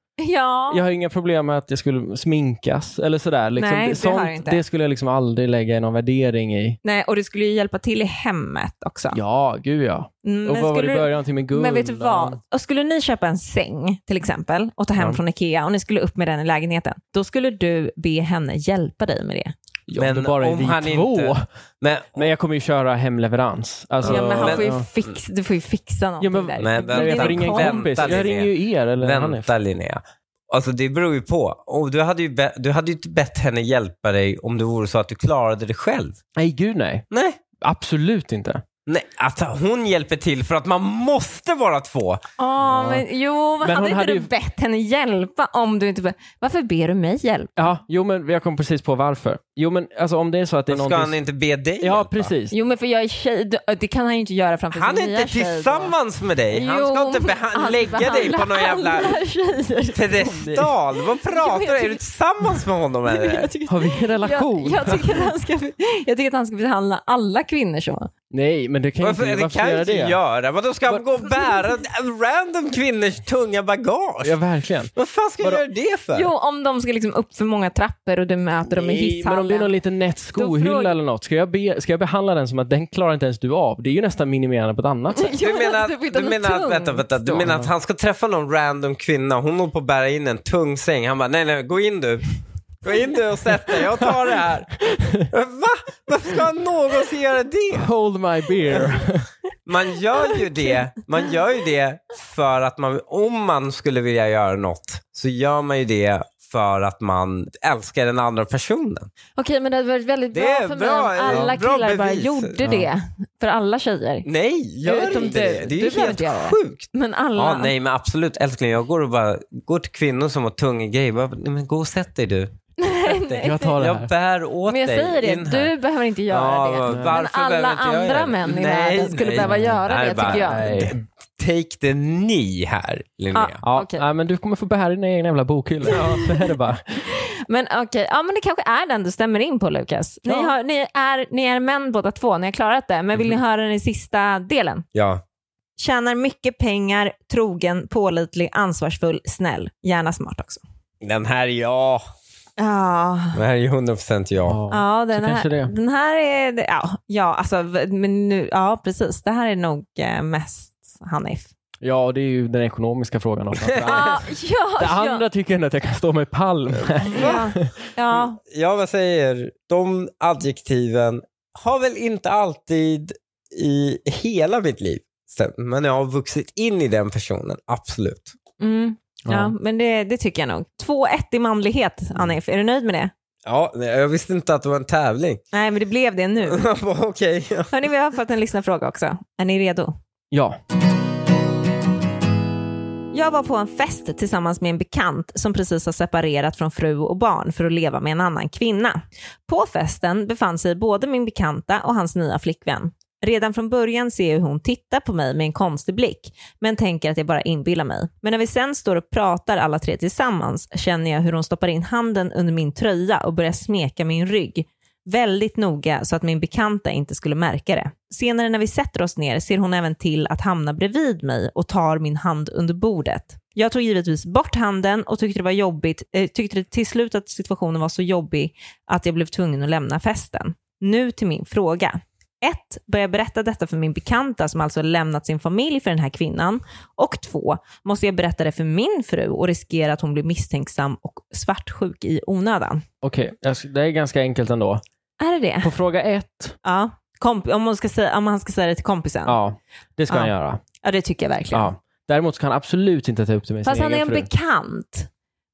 S3: Jag har inga problem med att jag skulle sminkas eller sådär. Liksom,
S4: Nej, det har
S3: sånt,
S4: jag inte.
S3: det skulle jag liksom aldrig lägga någon värdering i.
S4: Nej, och du skulle ju hjälpa till i hemmet också.
S3: Ja, gud ja.
S4: Mm,
S3: och vad var det
S4: skulle
S3: i
S4: du-
S3: början? Till med guld?
S4: Men vet du
S3: och-
S4: vad? Och skulle ni köpa en säng till exempel och ta hem
S3: Ja.
S4: från Ikea och ni skulle upp med den i lägenheten, då skulle du be henne hjälpa dig med det.
S3: Ja,
S1: Men
S3: men bara är
S1: om
S3: vi
S1: han
S3: två.
S1: inte- Men,
S3: Men jag kommer ju köra hemleverans. Alltså,
S4: Ja, men han
S1: men-
S4: får ju
S3: ja.
S4: fixa, du får ju fixa någonting
S3: men-
S4: där.
S1: Men
S4: Det är
S1: vänta,
S3: jag
S4: din
S3: får ringa
S4: kompis.
S3: en kompis.
S1: Linnea.
S3: Jag ringer ju er eller Hanif.
S1: vänta Linnea. Alltså det beror ju på. Och du, hade ju be- du hade ju inte bett henne hjälpa dig om det vore så att du klarade det själv.
S3: Nej, gud nej.
S1: Nej.
S3: Absolut inte.
S1: Nej, alltså hon hjälper till för att man måste vara två.
S4: Ja, men, jo, men
S3: Men hon
S4: hade inte
S3: hade
S4: du
S3: ju-
S4: bett henne hjälpa om du inte... be- Varför ber du mig hjälp?
S3: Ja, jo men jag kom precis på varför. Jo men alltså om det är så att det är
S1: Ska
S3: någonting...
S1: han inte be dig
S3: Ja,
S1: hjälpa?
S3: precis.
S4: Jo, men för jag är tjej. Du- Det kan han ju inte göra framför
S1: Han är
S4: sin nya
S1: inte
S4: tjej då.
S1: tillsammans med dig. Han ska
S4: Jo,
S1: inte beha-
S4: han
S1: lägga dig på
S4: behandlar
S1: någon jävla
S4: alla tjejer.
S1: pedestal. Vad pratar du?
S4: tycker-
S1: Är du tillsammans med honom eller?
S4: Jag tycker,
S3: Har vi en relation?
S4: jag, jag, tycker att han ska, jag tycker att han ska behandla alla kvinnor så.
S1: Eh.
S3: Nej, men det kan ju
S1: Varför,
S3: inte...
S1: det
S3: Varför
S1: kan
S3: göra
S1: jag inte
S3: det?
S1: göra. Vadå, ska
S3: Var-
S1: han gå och bära random kvinnors tunga bagage?
S3: Ja, verkligen.
S1: Vad fan ska jag
S3: Vadå?
S1: göra det för?
S4: Jo, om de ska liksom upp för många trappor och du möter dem i
S3: Nej, men om det är
S4: hisshallen.
S3: någon liten nätt
S4: Då
S3: skohylla
S4: fråga-
S3: eller något, ska jag, be, ska jag behandla den som att den klarar inte ens du av? Det är ju nästan minimerande på ett annat sätt.
S4: Jo,
S1: Du
S4: men
S1: menar,
S4: alltså, får
S1: att-
S4: hitta
S1: du,
S4: något
S1: menar, att-
S4: tungt
S1: vänta, vänta, du
S4: då.
S1: menar att han ska träffa någon random kvinna, hon håller på att bära in en tung säng. Han bara, nej nej, gå in du. Gå in du och sätt dig, jag tar det här. Va? Varför ska han någonsin göra det?
S3: Hold my beer.
S1: Man gör ju det, man gör ju det för att man, om man skulle vilja göra något, så gör man ju det för att man älskar den andra personen.
S4: Okej, men det hade varit väldigt
S1: Det
S4: bra
S1: är
S4: för mig
S1: bra,
S4: om alla
S1: ja, bra
S4: killar bara
S1: bevis.
S4: gjorde
S1: Ja.
S4: det. För alla tjejer.
S1: Nej, gör
S4: Utom
S1: inte
S4: du.
S1: det. Det är
S4: Du
S1: ju
S4: behöver
S1: helt
S4: inte göra det.
S1: sjukt.
S4: Men alla.
S1: Ja, nej men absolut älskling. Jag går och bara går till kvinnor som har tunga grejer. Bara, nej, men gå och sätt dig du. Sätt dig.
S3: Jag tar det här.
S1: Jag bär åt
S4: Men jag
S1: dig.
S4: säger det,
S1: in här.
S4: du behöver inte göra
S1: Ja,
S4: det.
S1: varför
S4: Men alla
S1: behöver inte jag göra
S4: andra
S1: det?
S4: män i
S1: Nej,
S4: världen skulle
S1: nej,
S4: behöva
S1: nej.
S4: göra
S1: Nej,
S4: det,
S1: bara,
S4: tycker jag.
S1: nej. Take the knee här, Linnea.
S4: Ja.
S3: Ja,
S4: Okej.
S3: nej, men du kommer få bära dina egna jävla bokhyllor. Ja. Så är det bara.
S4: Men okej, ja men det kanske är den du stämmer in på Lukas. Ni,
S3: Ja.
S4: har, ni, är, ni är män båda två, ni har klarat det. Men vill ni höra den i sista delen?
S1: Ja.
S4: Tjänar mycket pengar, trogen, pålitlig, ansvarsfull, snäll. Gärna smart också.
S1: Den här är ja.
S4: Ja,
S1: Den här är ju 100% ja.
S4: ja den,
S3: så
S4: här,
S3: kanske det.
S4: den här är... det- Ja, ja, alltså, v- men nu, ja precis. Det här är nog eh, mest Hanif.
S3: Ja, och det är ju den ekonomiska frågan också.
S4: Ja, ja,
S3: Det andra tycker jag ändå att jag kan stå med palm.
S4: ja, ja.
S1: Ja, vad säger De adjektiven har väl inte alltid i hela mitt liv stämt, men jag har vuxit in i den personen, absolut.
S4: Mm. Ja,
S3: Ja.
S4: men det, det tycker jag nog. 2-1 i manlighet, Anif. Är du nöjd med det?
S1: Ja, nej, jag visste inte att det var en tävling.
S4: Nej, men det blev det nu.
S1: Jag bara, Okej.
S4: Hörni, vi har fått en lyssnarfråga också. Är ni redo?
S3: Ja,
S4: Jag var på en fest tillsammans med en bekant som precis har separerat från fru och barn för att leva med en annan kvinna. På festen befann sig både min bekanta och hans nya flickvän. Redan från början ser jag hur hon tittar på mig med en konstig blick, men tänker att jag bara inbillar mig. Men när vi sen står och pratar alla tre tillsammans känner jag hur hon stoppar in handen under min tröja och börjar smeka min rygg. väldigt noga så att min bekanta inte skulle märka det. Senare när vi sätter oss ner ser hon även till att hamna bredvid mig och tar min hand under bordet. Jag tog givetvis bort handen och tyckte det var jobbigt, eh, tyckte till slut att situationen var så jobbig att jag blev tvungen att lämna festen. Nu till min fråga. 1. Börja berätta detta för min bekanta som alltså lämnat sin familj för den här kvinnan. Och 2. Måste jag berätta det för min fru och riskera att hon blir misstänksam och svartsjuk i onödan?
S3: Okej, jag ska- det är ganska enkelt ändå.
S4: Är det det?
S3: På fråga ett,
S4: Ja. Komp- om, man ska säga, om han ska säga det till kompisen? Ja,
S3: ja, det ska
S4: Ja.
S3: han göra.
S4: det tycker jag verkligen.
S3: Ja. Däremot ska han absolut inte ta upp det med
S4: Fast
S3: sin
S4: han är
S3: egen
S4: en
S3: fru.
S4: bekant.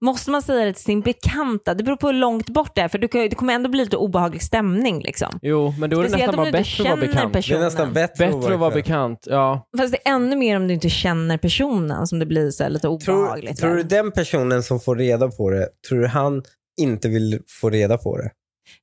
S4: Måste man säga det till sin bekanta? Det beror på hur långt bort det är, för du kan, ju- det kommer ändå bli lite obehaglig stämning. Liksom.
S3: Jo, men då är det
S4: Speciellt
S3: nästan
S4: om
S3: bara
S4: du inte
S3: bättre att vara
S4: känner
S3: bekant.
S1: Det är
S4: personen.
S1: nästan bättre,
S3: Bättre att vara
S1: bekant.
S3: bekant, ja.
S4: Fast det är ännu mer om du inte känner personen som det blir så här lite
S1: Tror,
S4: obehagligt.
S1: tror
S4: va?
S1: du den personen som får reda på det, tror du han inte vill få reda på det?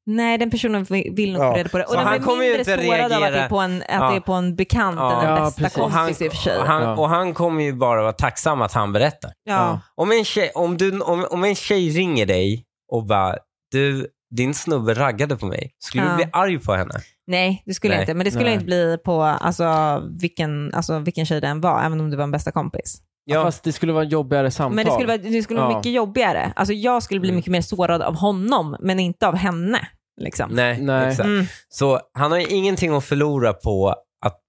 S4: Nej, den personen vill vill nog
S1: Ja.
S4: få reda på det.
S1: Så
S4: Och den
S1: han
S4: blir
S1: kommer ju
S4: mindre
S1: inte
S4: sårad av att det är
S1: reagera.
S4: på en, att
S1: Ja.
S4: det är på en bekant än
S1: Ja,
S4: en bästa
S3: precis.
S1: Och han,
S4: kompis i och för sig.
S1: och han,
S3: Ja.
S1: och han kommer ju bara vara tacksam att han berättar.
S4: ja.
S1: Om en tjej, om du, om, om en tjej ringer dig och bara du, din snubbe raggade på mig. Skulle
S4: Ja.
S1: du bli arg på henne?
S4: Nej, det skulle
S1: Nej.
S4: jag inte. Men det skulle
S3: Nej.
S4: jag inte bli på alltså, vilken, alltså, vilken tjej den var, även om det var en bästa kompis.
S1: Ja.
S3: Fast det skulle vara en jobbigare samtal.
S4: Men det skulle vara, det skulle vara
S3: Ja.
S4: mycket jobbigare. Alltså, jag skulle bli
S1: Mm.
S4: mycket mer sårad av honom, men inte av henne. Liksom.
S1: Nej,
S3: Nej.
S1: exakt.
S4: Mm.
S1: Så han har ju ingenting att förlora på att,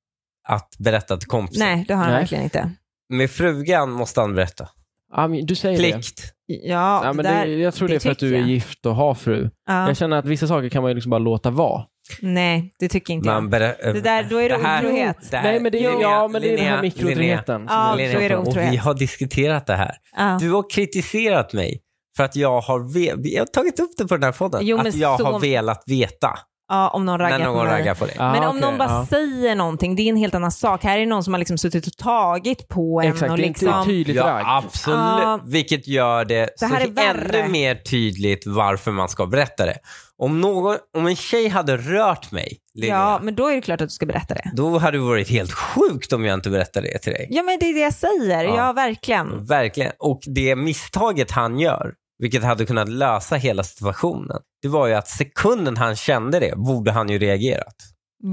S1: att berätta till kompisen.
S4: Nej, det har han
S3: Nej.
S4: verkligen inte.
S1: Med frugan måste han berätta.
S3: Ja, men du säger det.
S1: Plikt.
S4: Ja,
S3: Ja,
S4: det
S3: men det,
S4: där,
S3: jag tror det, är för att
S4: tycker
S3: du är
S4: jag.
S3: gift och har fru.
S4: Ja.
S3: Jag känner att vissa saker kan man ju liksom bara låta vara.
S4: Nej, det tycker inte
S1: Man
S4: jag.
S1: berä- eh,
S4: Det där, då är det,
S1: det här-
S4: otrohet.
S1: det här-
S3: Nej, men det,
S1: Linnea,
S3: ja, men det är den
S1: Linnea,
S3: här mikrodrenheten.
S4: Ja,
S3: som
S4: då är det
S1: Och
S4: otrohet.
S1: vi har diskuterat det här.
S4: Ja.
S1: Du har kritiserat mig för att jag har, ve- vi har tagit upp det på den här podden.
S4: Jo, men
S1: att jag
S4: så-
S1: har velat veta
S4: Ja, om någon raggar
S1: när
S4: på
S1: någon
S4: mig.
S1: raggar på dig.
S3: Ah,
S4: Men om
S3: okej,
S4: någon bara
S3: ja.
S4: säger någonting, det är en helt annan sak. Här är det någon som har liksom suttit och tagit på en
S3: Exakt,
S4: och
S3: det är inte
S4: liksom...
S3: tydligt
S1: Ja,
S3: ragg.
S1: absolut.
S4: Ja.
S1: Vilket gör det,
S4: Det här
S1: så
S4: är värre.
S1: ännu mer tydligt varför man ska berätta det. Om, någon, om en tjej hade rört mig, Linnea,
S4: Ja, men då är det klart att du ska berätta det.
S1: då hade det varit helt sjukt om jag inte berättade det till dig.
S4: Ja, men det är det jag säger.
S1: Ja.
S4: Ja, verkligen.
S1: Mm. Verkligen. Och det misstaget han gör, vilket hade kunnat lösa hela situationen, det var ju att sekunden han kände det borde han ju reagerat.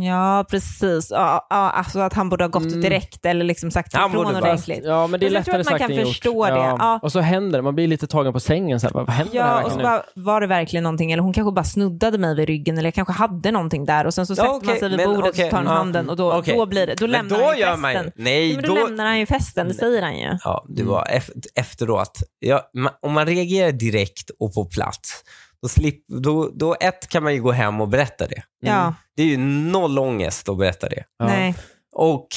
S4: Ja, precis. Ja, ja, alltså att han borde ha gått
S3: Mm.
S4: direkt eller liksom sagt
S1: Han
S4: ifrån
S1: borde bara-
S4: ordentligt.
S3: Ja, men det är
S4: Men jag tror
S3: lättare
S4: att man
S3: sagt
S4: kan
S3: än
S4: förstå
S3: gjort.
S4: det. Ja.
S3: Och så händer det, man blir lite tagen på sängen. Så här, bara, vad händer här
S4: Ja, och så
S3: verkligen?
S4: bara, var det verkligen någonting? Eller hon kanske bara snuddade mig vid ryggen eller jag kanske hade någonting där och sen så
S1: Ja,
S4: sätter man
S1: okej,
S4: sig vid
S1: men
S4: bordet
S1: okej,
S4: och tar hon
S1: ja,
S4: handen och då,
S1: okej.
S4: då blir det, då
S1: Men
S4: lämnar
S1: då
S4: han ju
S1: gör
S4: festen.
S1: man ju- nej,
S4: Ja, men då,
S1: då- Mm.
S4: lämnar Mm. han ju festen, det säger han ju.
S1: Ja, det var ef- efteråt. Ja, ma- om man reagerar direkt och på plats, då, slip, då, då ett kan man ju gå hem och berätta det.
S4: Ja,
S1: Det är ju noll ångest att berätta det.
S3: Ja.
S4: nej.
S1: Och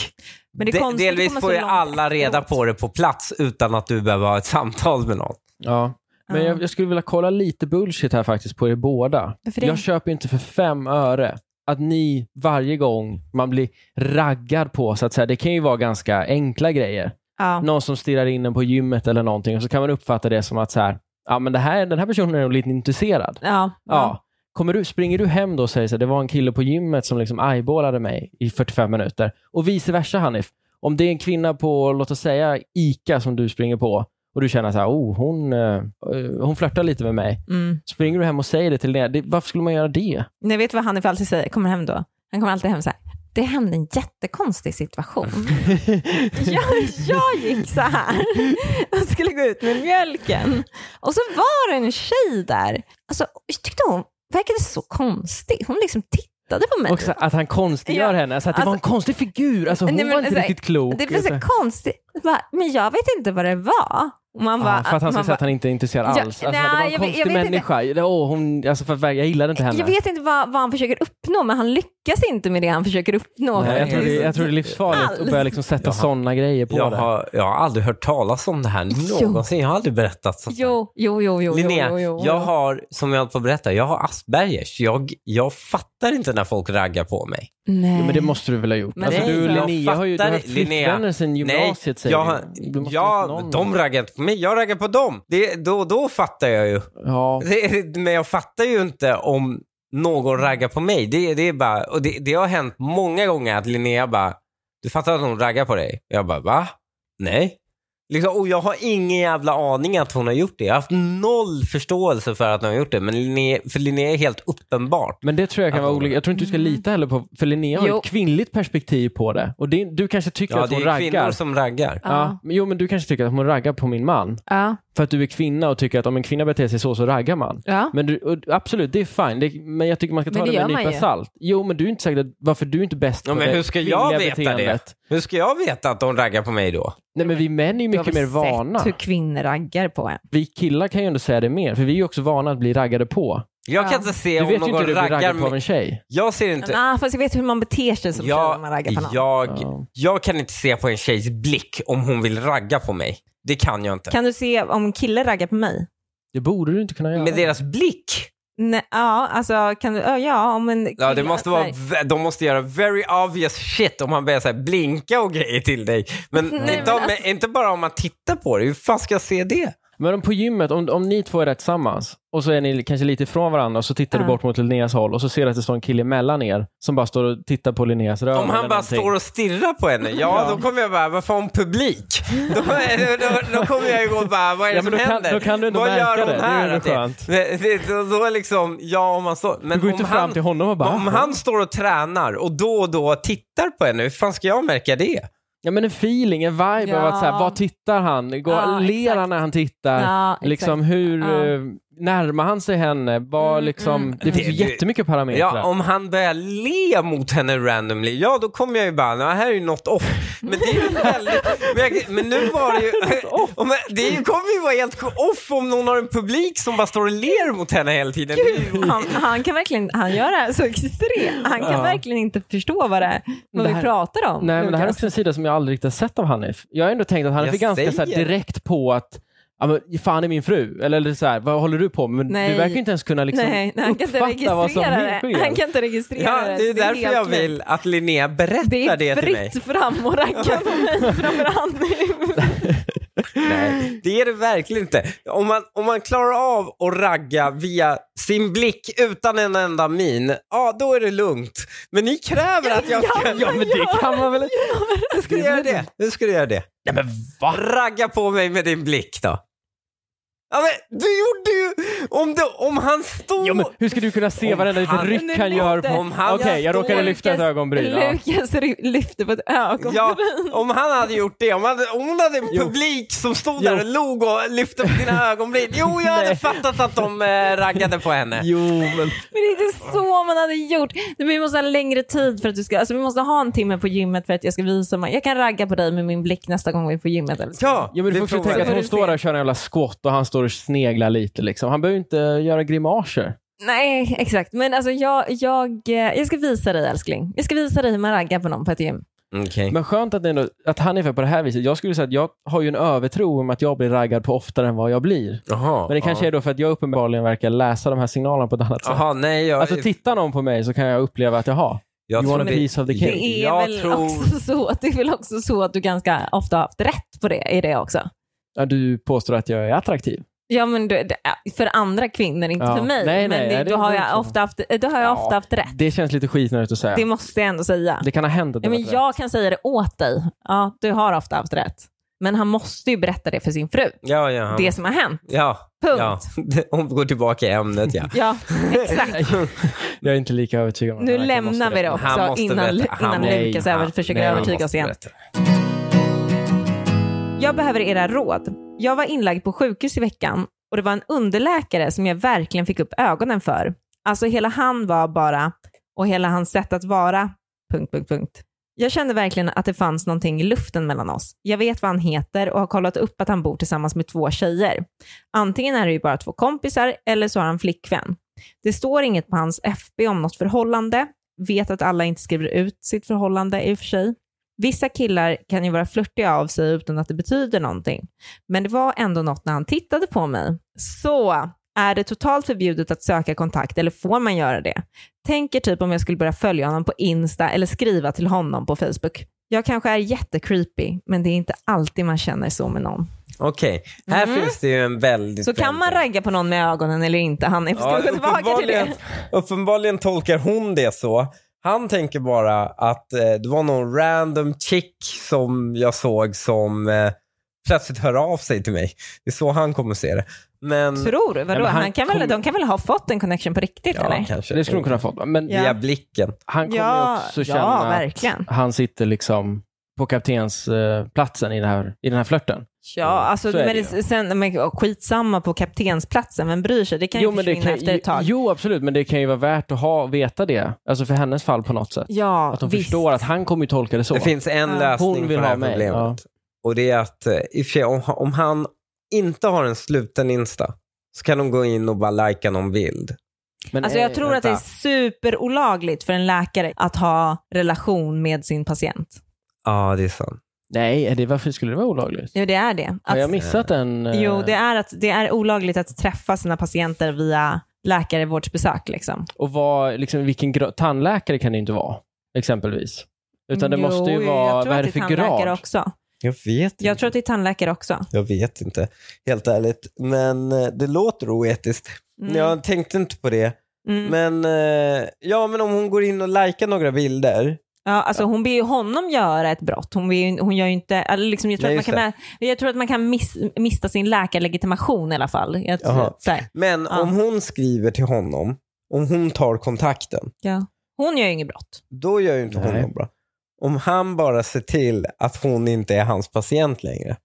S4: Men det är
S1: de-
S4: konstigt att
S1: delvis
S4: komma
S1: får
S4: så
S1: ju
S4: långt
S1: alla reda
S4: efteråt.
S1: på det på plats utan att du behöver ha ett samtal med någon.
S3: Ja. Men
S4: Ja.
S3: Jag, jag skulle vilja kolla lite bullshit här faktiskt på er båda.
S4: Varför det?
S3: Jag köper ju inte för fem öre att ni varje gång man blir raggad på, så att säga, det kan ju vara ganska enkla grejer.
S4: Ja.
S3: Någon som stirrar in en på gymmet eller någonting och så kan man uppfatta det som att så här, ja, men det här, den här personen är nog lite intresserad.
S4: Ja.
S3: Ja. Kommer du, springer du hem då och säger så här, det var en kille på gymmet som liksom eyeballade mig i 45 minuter. Och vice versa Hanif. Om det är en kvinna på, låt oss säga ICA som du springer på och du känner så här, oh, hon, eh, eh, hon flörtar lite med mig.
S4: Mm.
S3: Springer du hem och säger det till Linnea, det, varför skulle man göra det?
S4: Ni vet vad Hanif alltid säger, kommer hem då? Han kommer alltid hem så här, det hände en jättekonstig situation. jag, jag gick så här och skulle gå ut med mjölken och så var det en tjej där. Alltså, jag tyckte hon verkade så konstig. Hon liksom tittade på mig.
S3: Och så att han konstgör
S4: Ja,
S3: henne, så att det
S4: alltså-
S3: var en konstig figur. Alltså, hon
S4: Nej, men
S3: var inte
S4: så här,
S3: riktigt klok. Alltså,
S4: det var så här konstigt. Bara, men jag vet inte vad det var. Och Man bara,
S3: Ja, för att han ska
S4: man
S3: säga
S4: bara,
S3: att han inte är intresserad
S4: Ja,
S3: alls. Alltså, det var en
S4: nej, jag vet-
S3: konstig
S4: jag vet inte.
S3: människa. Åh, hon, alltså, för, att jag gillade inte henne.
S4: jag vet inte vad, vad han försöker uppnå, men han lyckas inte med det han försöker uppnå.
S3: Nej, jag, tror det, jag tror det är livsfarligt att
S4: Alls.
S3: börja liksom sätta
S1: Jaha.
S3: sådana grejer på
S1: Jag
S3: det.
S1: har, jag har aldrig hört talas om det här någonsin. Jag har aldrig berättat sånt här.
S4: Jo, jo, jo, jo,
S1: Linnea,
S4: jo, jo, jo.
S1: jag har, som jag höll på att berätta, jag har Aspergers. Jag, jag fattar inte när folk raggar på mig.
S4: Nej.
S3: Jo, men det måste du väl ha gjort?
S4: Men
S3: alltså,
S4: det är
S3: du och
S4: så.
S3: Linnea har ju du har
S1: Fattar-
S3: haft flickvänner sedan gymnasiet
S1: nej,
S3: säger
S1: jag,
S3: du. Du måste ha haft
S1: ja,
S3: någon.
S1: de raggar inte på mig. Jag raggar på dem. Det, då, då fattar jag ju.
S3: Ja,
S1: Det, men jag fattar ju inte om någon raggar på mig. Det, det, är bara, och det, det har hänt många gånger att Linnea bara, du fattar att hon raggar på dig? Jag bara, va? Nej. Liksom, och jag har ingen jävla aning att hon har gjort det. Jag har haft noll förståelse för att hon har gjort det. Men Linnea, för Linnea är helt uppenbart.
S3: Men det tror jag kan
S1: Att
S3: vara
S1: hon-
S3: olika. Jag tror inte du ska lita heller på, för Linnea har ju
S4: Mm. Jo.
S3: ett kvinnligt perspektiv på det. Och det, du kanske tycker
S1: Ja,
S3: att
S1: det
S3: hon
S1: är kvinnor
S3: raggar.
S1: som raggar.
S3: Ja, men, jo, men du kanske tycker att hon raggar på min man.
S4: Ja.
S3: För att du är kvinna och tycker att om en kvinna beter sig så, så raggar man.
S4: Ja.
S3: Men du, och, absolut, det är fine. Det, men jag tycker man ska ta
S4: Men det
S3: det, med
S4: gör
S3: en
S4: man
S3: nypa
S4: ju.
S3: salt. Jo, men du är inte säker att- varför du är inte bäst
S1: Ja,
S3: på
S1: men
S3: det
S1: hur ska jag
S3: kvinnliga
S1: veta det?
S3: beteendet.
S1: Hur ska jag veta att hon raggar på mig då?
S3: Nej, men vi män är ju
S4: Du har
S3: mycket mer
S4: väl sett
S3: vana.
S1: typ-
S4: hur kvinnor raggar på en.
S3: Vi killar kan ju ändå säga det mer, för vi är ju också vana att bli raggade på.
S1: Jag
S4: Ja.
S1: kan inte se
S3: Du
S1: om
S3: vet ju inte
S1: någon
S3: hur du blir
S1: raggar
S3: raggad på av
S1: mig.
S3: en tjej.
S1: Jag ser inte.
S4: Ah, fast jag vet hur man beter sig som tjej när man
S1: Jag,
S4: raggar på någon.
S1: jag,
S3: Ja.
S1: jag kan inte se på en tjejs blick om hon vill ragga på mig. Det kan jag inte.
S4: Kan du se om en kille raggar på mig?
S3: Det borde du inte kunna göra.
S1: Med deras blick?
S4: Nej, ja, alltså kan du, ja, ja, om en
S1: Ja, det
S4: kille-
S1: måste
S4: så här-
S1: vara, vä- de måste göra very obvious shit om man börjar så här blinka och grejer till dig. Men,
S4: Nej,
S1: inte,
S4: men alltså-
S1: om, inte bara om man tittar på det. Hur fan ska jag se det?
S3: Men om på gymmet, om, om ni två är rätt tillsammans och så är ni kanske lite ifrån varandra och så tittar du
S4: Ja.
S3: bort mot Linneas håll och så ser du att det står en kille mellan er som bara står och tittar på Linneas röv.
S1: Om han
S3: eller
S1: bara
S3: någonting.
S1: står och stirrar på henne, ja då kommer jag bara, varför har hon publik? Då, då, då kommer jag ju gå och bara, vad är det
S3: Ja,
S1: som
S3: men då kan-
S1: händer?
S3: då kan du ändå
S1: vad
S3: märka
S1: gör hon
S3: det. Det är
S1: här?
S3: ändå
S1: att det-
S3: skönt.
S1: det- det- Då, då är liksom, ja om man står... Men
S3: Du går ju
S1: om
S3: inte fram
S1: han,
S3: till honom och bara...
S1: Om han står och tränar och då och då tittar på henne, hur fan ska jag märka det?
S3: Ja, men en feeling, en vibe av
S4: Ja.
S3: att så här, vad tittar han? Går,
S4: Ja,
S3: ler han
S4: exakt.
S3: när han tittar?
S4: Ja, exakt.
S3: liksom hur
S4: Ja.
S3: eh, närmar han sig henne? Vad
S4: Mm,
S3: liksom,
S4: mm.
S3: Det finns ju
S1: Det- det-
S3: jättemycket parametrar.
S1: Ja, om han börjar le mot henne randomly, ja då kommer jag ju bara, "Nå, här är ju något off. Men det är ju väldigt, men, jag, men nu var det ju, Om jag- det är ju- kommer ju vara helt off om någon har en publik som bara står och ler mot henne hela tiden. Det är ju-
S4: Han, han kan verkligen han gör det här så extremt. Han kan
S3: Ja.
S4: verkligen inte förstå vad, det är, vad
S3: Det
S4: vi
S3: här-
S4: pratar om.
S3: Nej, men det här är
S4: Lukas.
S3: också en sida som jag aldrig riktigt har sett av Hanif. Jag har ändå tänkt att Hanif
S1: Jag
S3: är ganska så här,
S1: säger.
S3: direkt på att ja, men, fan är min fru? Eller, eller så här, vad håller du på med? Men
S4: Nej.
S3: Du verkar ju inte ens kunna liksom,
S4: Nej, nej, han kan inte
S3: uppfatta vad som
S4: registrera det.
S3: sker.
S4: Han kan inte registrera
S1: Ja,
S4: det.
S1: det är
S4: så
S1: därför
S4: helt
S1: jag
S4: lugnt.
S1: vill att Linnea berättar
S4: Det
S1: det,
S4: är
S1: till mig.
S4: fritt fram och ragga på mig framför Hanif.
S1: Nej, det är det verkligen inte. Om man, om man klarar av att ragga via sin blick utan en enda min, ja då är det lugnt. Men ni kräver att jag ska...
S3: Ja, men det kan man väl inte?
S1: Hur ska du göra det? Hur ska du göra det? Nej men va? Ragga på mig med din blick då. Ja men du gjorde ju... Om, du, om han stod...
S3: Ja, men hur ska du kunna se
S1: Om
S3: varenda liten
S1: han-
S3: ryck han gör? på-
S1: Om han-
S3: Okej, jag råkade lyfta ett
S4: Lukas-
S3: ögonbryn. Ja.
S4: Lukas ry- lyfter på ett ögonbryn.
S1: Ja, om han hade gjort det, om, han, om hon hade en
S3: Jo.
S1: publik som stod
S3: Jo.
S1: där och log och lyfte upp dina ögonbryn. Jo, jag hade
S3: Nej.
S1: fattat att de eh, raggade på henne.
S3: Jo, men...
S4: Men det är inte så man hade gjort. Vi måste ha längre tid för att du ska, alltså vi måste ha en timme på gymmet för att jag ska visa mig. Jag kan ragga på dig med min blick nästa gång vi är på gymmet. Eller så.
S1: Ja,
S3: Ja, men
S1: det
S3: du får också
S1: provar
S3: tänka
S1: jag.
S3: att hon
S4: se.
S3: står där och kör en jävla squat och han står och sneglar lite. Liksom. Han behöver inte göra grimaser.
S4: Nej, exakt. Men alltså jag, jag, eh, jag ska visa dig älskling. Jag ska visa dig hur man raggar på någon på ett gym.
S1: Mm, Okej.
S3: Men skönt att, det ändå, att han är för på det här viset. Jag skulle säga att jag har ju en övertro om att jag blir raggad på oftare än vad jag blir.
S1: Jaha.
S3: Men det kanske är då för att jag uppenbarligen verkar läsa de här signalerna på ett annat sätt.
S1: Jaha, nej jag...
S3: Alltså tittar någon på mig så kan jag uppleva att jaha,
S1: jag
S3: you want a
S1: det-
S3: piece of the cake.
S4: Det är,
S1: Jag
S4: väl
S1: tror-
S4: också så, det är väl också så att du ganska ofta har haft rätt på det, i det också.
S3: Ja, du påstår att jag är attraktiv.
S4: Ja, men du, det är för andra kvinnor, inte
S3: Ja.
S4: för mig.
S3: Nej,
S4: men
S3: nej,
S4: det,
S3: ja, det
S4: då, har
S3: är
S4: jag
S3: så.
S4: ofta haft, då har jag
S3: Ja.
S4: ofta haft rätt.
S3: Det känns lite skitnödigt att säga.
S4: Det
S3: Det,
S4: måste jag ändå säga.
S3: kan ha hänt att
S4: Ja,
S3: jag
S4: men
S3: varit
S4: jag kan säga det åt dig. Ja, du har ofta haft rätt. Men han måste ju berätta det för sin fru.
S1: Ja, ja.
S4: Det som har hänt.
S1: Ja.
S4: Punkt.
S1: ja. Hon går tillbaka i ämnet ja.
S4: Ja, exakt.
S3: rätt. jag är inte lika övertygad om att
S4: Nu
S3: han verkar
S4: lämnar vi
S3: måste
S4: det
S3: berätta.
S1: Han
S4: också
S1: måste
S4: innan,
S1: berätta. Han-
S4: innan
S3: Nej,
S4: Lukas över,
S1: han-
S4: försöker
S1: nej, han
S4: övertyga
S1: måste
S4: oss igen.
S1: berätta.
S4: Jag behöver era råd. Jag var inlagd på sjukhus i veckan och det var en underläkare som jag verkligen fick upp ögonen för. Alltså hela han var bara och hela hans sätt att vara. Punkt, punkt, punkt. Jag kände verkligen att det fanns någonting i luften mellan oss. Jag vet vad han heter och har kollat upp att han bor tillsammans med två tjejer. Antingen är det ju bara två kompisar eller så har han flickvän. Det står inget på hans FB om något förhållande. Vet att alla inte skriver ut sitt förhållande i och för sig. Vissa killar kan ju vara flörtiga av sig utan att det betyder någonting. Men det var ändå något när han tittade på mig. Så, är det totalt förbjudet att söka kontakt eller får man göra det? Tänker typ om jag skulle börja följa honom på Insta eller skriva till honom på Facebook. Jag kanske är jättecreepy, men det är inte alltid man känner så med någon.
S1: Okej, här
S4: Mm.
S1: finns det ju en väldigt...
S4: Så kan man
S1: väldigt-
S4: ragga på någon med ögonen eller inte? Han är
S1: Ja,
S4: ja, tillbaka till
S1: uppenbarligen,
S4: det.
S1: uppenbarligen tolkar hon det så. Han tänker bara att eh, det var någon random chick som jag såg som eh, plötsligt höra av sig till mig. Det är så han kommer se det. Men,
S4: Tror du? Vadå?
S3: men han
S4: han kan väl,
S3: kom-
S4: de kan väl ha fått en connection på riktigt
S1: ja,
S4: eller?
S1: kanske.
S3: Det skulle hon kunna få. Men
S4: Ja.
S1: Via blicken.
S3: han kommer ju också känna
S4: ja,
S3: att
S4: verkligen.
S3: han sitter liksom på kaptensplatsen i, den här- i den här flörten.
S4: Ja, alltså,
S3: Mm, Så är
S4: men
S3: det ju.
S4: det, sen, men, åh, skitsamma på kaptensplatsen, vem bryr sig? Det kan ju
S3: men det
S4: försvinna efter ett tag.
S3: jo, absolut, men det kan ju vara värt att ha, veta det. Alltså för hennes fall på något sätt.
S4: ja,
S3: Att de
S4: visst.
S3: förstår att han kommer ju tolka det så.
S1: Det finns en
S4: Ja.
S1: lösning
S3: Hon vill
S1: på det här
S3: ha mig,
S1: problemet.
S3: ja.
S1: Och det är att eh, i och för sig, om, om han inte har en sluten Insta så kan de gå in och bara lajka någon bild.
S3: Men eh,
S4: Alltså
S3: är-
S4: jag tror att det är
S1: vänta.
S4: superolagligt för en läkare att ha relation med sin patient.
S1: Ja, det är sant.
S3: Nej, är det, varför skulle det vara olagligt?
S4: Jo, det är det.
S3: Har
S4: Att,
S3: jag missat en... eh,
S4: alltså- jo, det är, att, det är olagligt att träffa sina patienter via läkarvårdsbesök. Liksom.
S3: Och vad, liksom, vilken gra- tandläkare kan det inte vara, exempelvis. Utan det
S4: Jo,
S3: måste ju
S4: jag
S3: vara,
S4: tror
S3: vad är
S4: att
S3: det för
S4: tandläkare
S3: grad?
S4: Också.
S1: Jag vet
S4: Jag tror att det är tandläkare också.
S1: Jag vet inte, helt ärligt. Men eh, det låter oetiskt.
S4: Mm.
S1: Jag tänkte inte på det.
S4: Mm.
S1: Men, eh, ja, men om hon går in och likar några bilder.
S4: Ja, alltså hon ber ju honom göra ett brott. Hon, ber, ju- hon gör ju inte, eller liksom, jag, tror
S1: Nej,
S4: att man kan, jag tror att man kan miss, mista sin läkarlegitimation i alla fall. Jag,
S1: Jaha.
S4: så här,
S1: Men
S4: Ja.
S1: om hon skriver till honom, om hon tar kontakten,
S4: ja. Hon gör ju inget brott.
S1: då gör ju inte hon
S3: Nej.
S1: något bra. Om han bara ser till att hon inte är hans patient längre.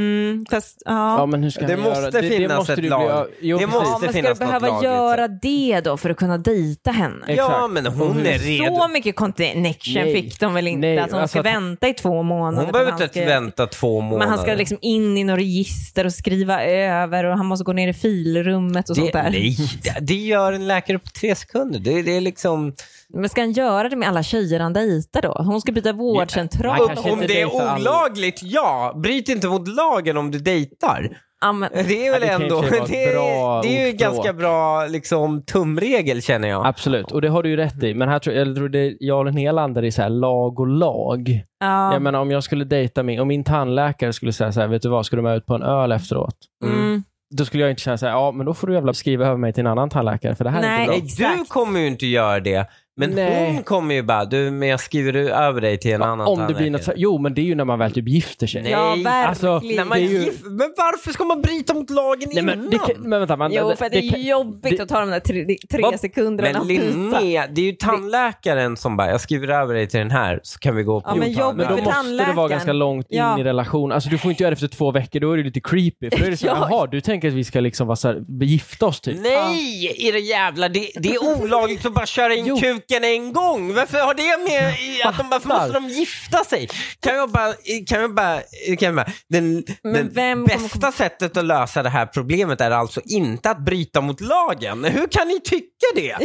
S4: Mm, fast,
S3: Ja, men hur ska
S1: Det
S3: han
S1: måste
S3: göra?
S1: finnas ett
S3: du bli-
S1: lag.
S3: jo,
S1: Det
S3: precis.
S1: måste
S4: Ja, men ska du
S1: finnas något
S4: behöva
S1: lagligt
S4: göra det då för att kunna dejta henne?
S3: Exakt.
S1: Ja, men hon
S3: Hon
S1: är
S3: är
S1: redo.
S4: Så mycket connection
S3: Nej.
S4: fick de väl inte?
S3: Nej,
S4: att hon
S3: alltså
S4: ska
S3: att-
S4: vänta i två månader.
S1: Hon behöver
S4: men han
S1: inte
S4: ska-
S1: vänta två månader.
S4: Men han ska liksom in i något register och skriva över och han måste gå ner i filrummet och
S1: det,
S4: sånt där.
S1: Nej, det- det gör en läkare på tre sekunder. Det, det är liksom...
S4: Men ska han göra det med alla tjejer han dejtar då? Hon ska byta vårdcentral.
S3: han kanske
S1: Om
S3: inte
S1: det
S3: dejtar
S1: är
S3: alla.
S1: olagligt, ja. Bryt inte mot lagen om du dejtar.
S4: Ja, men,
S1: Det är väl
S3: Ja, det kan ju
S1: ändå...
S3: i och för sig vara
S1: Det är,
S3: bra
S1: det är ju en
S3: ordspråk.
S1: ganska bra liksom, tumregel känner jag.
S3: Absolut, och det har du ju rätt i. Men här tror jag, jag, tror det, jag och Linnea landar i så här lag och lag.
S4: ja.
S3: Jag menar om jag skulle dejta min, om min tandläkare skulle säga så här, vet du vad, ska du med ut på en öl efteråt?
S4: mm.
S3: Då skulle jag inte känna så här, ja men då får du jävla skriva över mig till en annan tandläkare för det här är
S4: Nej.
S3: inte bra.
S1: Nej, du
S4: Exakt.
S1: kommer ju inte göra det. Men
S3: Nej.
S1: hon kommer ju bara, du, men jag skriver över dig till en annan
S3: Om det blir något, så
S1: tandläkare.
S3: här- jo men det är ju när man väl typ gifter sig.
S1: Nej.
S4: ja, verkligen.
S3: alltså,
S1: När man
S3: det är ju-
S1: gif- Men varför ska man bryta mot lagen
S3: Nej,
S1: innan?
S3: men, det, kan- men vänta, man,
S4: Jo, för det,
S3: det
S4: är
S3: kan-
S4: jobbigt
S3: det-
S4: att ta de där tre,
S1: Vad-
S4: tre sekunderna.
S1: Men
S4: att byta.
S1: Linnea, det är ju tandläkaren som bara, jag skriver över dig till den här så kan vi gå på
S4: Ja, men
S1: en
S4: jobbigt
S3: Men då
S1: tandläkare.
S4: för
S3: måste det vara
S4: tandläkaren.
S3: ganska långt in
S4: Ja.
S3: i relation. Alltså du får inte göra det efter två veckor, då är det lite creepy. För då är det så här,
S4: Ja.
S3: jaha, du tänker att vi ska liksom vara så här, begifta oss
S1: Mm.
S3: typ.
S1: Nej, era jävlar. Det, det är olagligt att bara köra in
S3: Jo.
S1: kuken en gång. Varför har det med i att de bara, varför måste de gifta sig? Kan jag bara, kan jag bara, kan jag bara den,
S4: Men
S1: den
S4: vem
S1: bästa
S4: kommer-
S1: sättet att lösa det här problemet är alltså inte att bryta mot lagen. Hur kan ni tycka det?